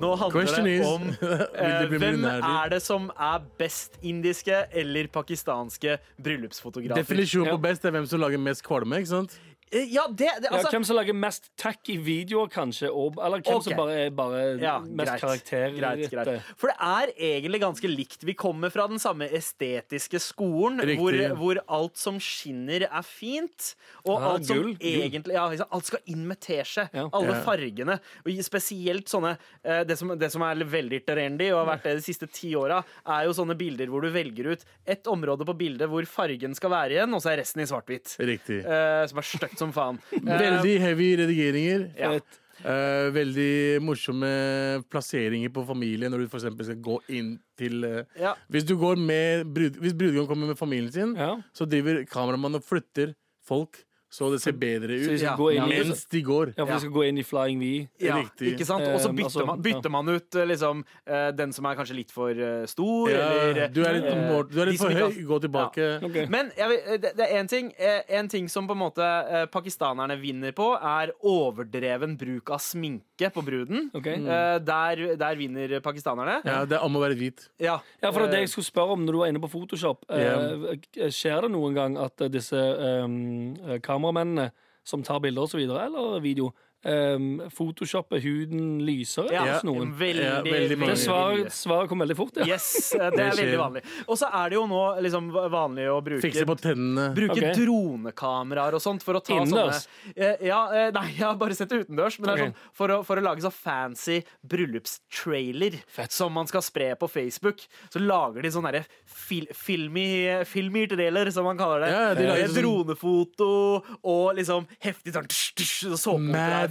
C: Nå handler
E: Question
C: det
E: is,
C: om
E: vil de bli
C: Eh, Hvem
E: millionærer?
C: er det som er best indiske eller pakistanske bryllupsfotografer?
E: Definisjonen på best er hvem som lager mest kvalme, ikke sant?
C: Eh, Ja, det, det
F: Ja,
C: altså,
F: hvem som lager mest tacky videoer, kanskje? Og, eller hvem
C: Ok.
F: som bare er bare
C: ja,
F: mest
C: greit,
F: karakterrette?
C: greit. For det er egentlig ganske likt. Vi kommer fra den samme estetiske skolen,
E: Riktig.
C: hvor, hvor alt som skinner, er fint. Og
F: Ah,
C: alt som
F: gull, gull.
C: egentlig ja, liksom, Alt skal inn med teskje.
F: Ja.
C: Alle
E: Ja.
C: fargene. Og i- spesielt sånne eh, Det som, det som er veldig irriterende, og har vært det de siste ti åra, er jo sånne bilder hvor du velger ut ett område på bildet hvor fargen skal være igjen, og så er resten i svart-hvitt.
E: Riktig.
C: Eh, som er stygt som faen.
F: Eh,
E: Veldig heavy redigeringer.
C: Ja.
E: Eh, veldig morsomme plasseringer på familie når du for eksempel skal gå inn til eh,
C: Ja.
E: Hvis du går med brud, Hvis brudgommen kommer med familien sin,
F: Ja.
E: så driver kameramannen og flytter folk så det ser bedre
F: Så de
E: ut
F: skal
C: Ja.
F: gå inn i,
E: mens de går.
F: ja, for de skal gå inn i Flying V.
C: Ja,
E: Riktig.
C: ikke sant? Og så
F: Eh,
C: bytter,
F: altså,
C: man,
F: ja.
C: bytter man ut eh, liksom, eh, den som er kanskje litt for eh, stor, eller
E: Ja, du er litt,
C: eh,
E: mor- du er
C: de
E: litt
C: som
E: for
C: ikke
E: høy. Gå tilbake.
F: Ok.
C: Men jeg vil, det, det er én ting, eh, en ting som på en måte eh, pakistanerne vinner på, er overdreven bruk av sminke på bruden.
F: Ok. Mm.
C: Eh, der, der vinner pakistanerne.
E: Ja, det er om å være hvit.
C: Ja. Eh,
F: Ja, for det var det jeg skulle spørre om når du var inne på Photoshop. Eh, Skjer det noen gang at eh, disse ehm, kameramennene som tar bilder og så videre, eller video, um, photoshopper huden lysere
C: Ja,
F: hos noen?
C: Veldig,
E: Ja, veldig mange.
C: veldig
F: Det
C: mye.
F: svaret, svaret kom veldig fort, ja.
C: Yes, eh, det er
E: skjer.
C: veldig vanlig. Og så er det jo nå liksom vanlig å bruke
E: Fikse på tennene.
C: Bruke
F: Ok.
C: dronekameraer og sånt for å ta
F: Innendørs?
C: sånne eh, ja, eh, Nei, jeg har bare sett det utendørs. Men det er
F: Ok.
C: sånn for å, for å lage så fancy bryllupstrailer som man skal spre på Facebook, så lager de sånn derre fil, filmy, filmy trailer, som man kaller det.
E: Ja, de lager
C: Eh,
E: sånn-
C: dronefoto og liksom heftig sånn tsh, tsh,
E: Mad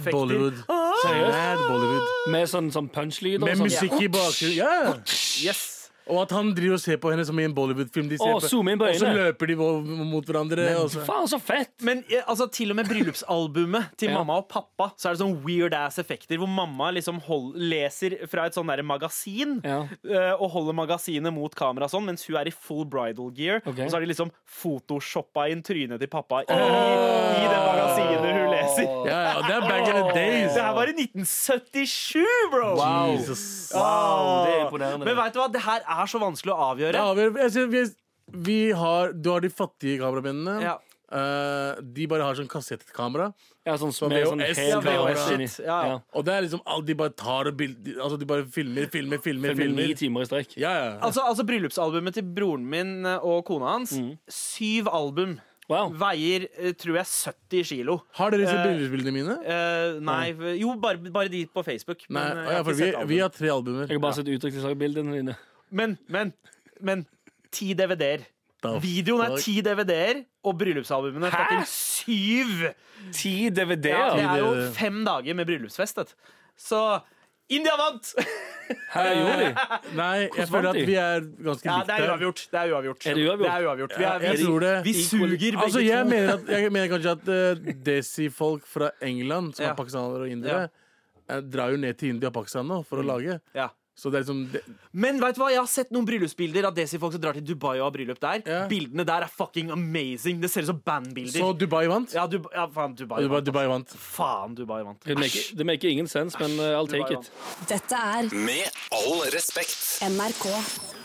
C: såpeoperaeffekter. Ah!
E: Bollywood. Mad Bollywood.
F: Med sånn, sånn punchlyder og
E: Med
F: sånn.
E: musikk i bakgrunnen. Ja.
C: Yes.
E: Og at han driver og ser på henne som i en Bollywood-film. De ser
F: Å, zoom inn på
E: og så
F: øynene.
E: løper de vo- mot hverandre. og så.
F: Faen, så fett!
C: Men eh, altså, til og med bryllupsalbumet til
F: Ja.
C: mamma og pappa Så er det sånn weird ass effekter Hvor mamma liksom hold, leser fra et sånn der magasin
F: Ja.
C: eh, Og holder magasinet mot kamera sånn Mens hun er i full bridal gear
F: Ok. Ah.
C: Og så har de liksom photoshoppa inn trynet til pappa I, i det magasinet hun leser
E: Ja, ja, og det er back in the days.
C: Det her var i 1977, bro
E: Jesus.
C: Wow,
F: det er imponerende.
C: Men vet du hva, det her er så vanskelig å avgjøre
E: Ja, vi, jeg ser- vi, vi har, du har de fattige kameramennene.
C: Ja.
E: Eh, de bare har sånn kassettkamera.
F: Ja, sånn
E: Sånn
F: med sånn
E: VHS,
F: hel
E: ja,
F: VHS
C: VHS,
F: inni.
C: ja.
E: Og det er liksom alt de bare tar og bild, de- altså de bare filmer, filmer, filmer.
F: Med
E: filmer.
F: ni timer i strekk.
E: Ja, ja.
C: Altså, altså bryllupsalbumet til broren min eh, og kona hans
E: Mm.
C: Syv album
F: Wow.
C: Veier, eh, tror jeg, 70 kilo.
E: har dere sett
C: Eh,
E: bildebildene mine?
C: Eh, nei v- Jo, bare, bare de på Facebook.
E: Nei,
C: eh,
E: å ja,
C: jeg har
E: for
C: ikke
E: vi,
C: sett alle.
E: vi har tre albumer.
F: Jeg har bare sett utdrikningslagbildene dine.
C: Men, men, men ti DVD-er.
E: Da-
C: Videoen er ti DVD-er, og bryllupsalbumene er fucking syv!
F: Ti
C: Ja, det
F: DVD-er!
C: er jo
E: DVD.
C: fem dager med bryllupsfest. vet du. Så India vant!
F: Her gjorde de.
E: Nei, jeg
F: Hvordan
E: føler
F: vant
E: at
F: de?
E: vi er ganske
C: Ja,
E: likt
C: det er uavgjort. Det er uavgjort.
F: Er det uavgjort?
C: Det er uavgjort. Vi, er,
E: Jeg
C: vi,
E: tror det.
C: vi suger begge
E: Altså, jeg
C: to.
E: mener, at, jeg mener kanskje at eh, desi-folk fra England, som
C: Ja.
E: er pakistanere og indere, eh, drar jo ned til India og Pakistan nå
C: Mm.
E: for å lage.
C: Ja.
E: Så det er liksom det,
C: Men vet du hva, jeg har sett noen bryllupsbilder av desi-folk som drar til Dubai og har bryllup der.
E: Ja.
C: Bildene der er fucking amazing. Det ser ut som bandbilder.
E: Så Dubai vant?
C: Ja, Dubai, ja faen, Dubai,
E: Dubai,
C: vant.
E: Dubai vant.
C: Faen, Dubai vant.
F: Det maker- Det maker ingen sens, men uh, I'll
C: var
F: take
C: jo
F: it.
D: Dette er
A: Med all respekt.
D: NRK.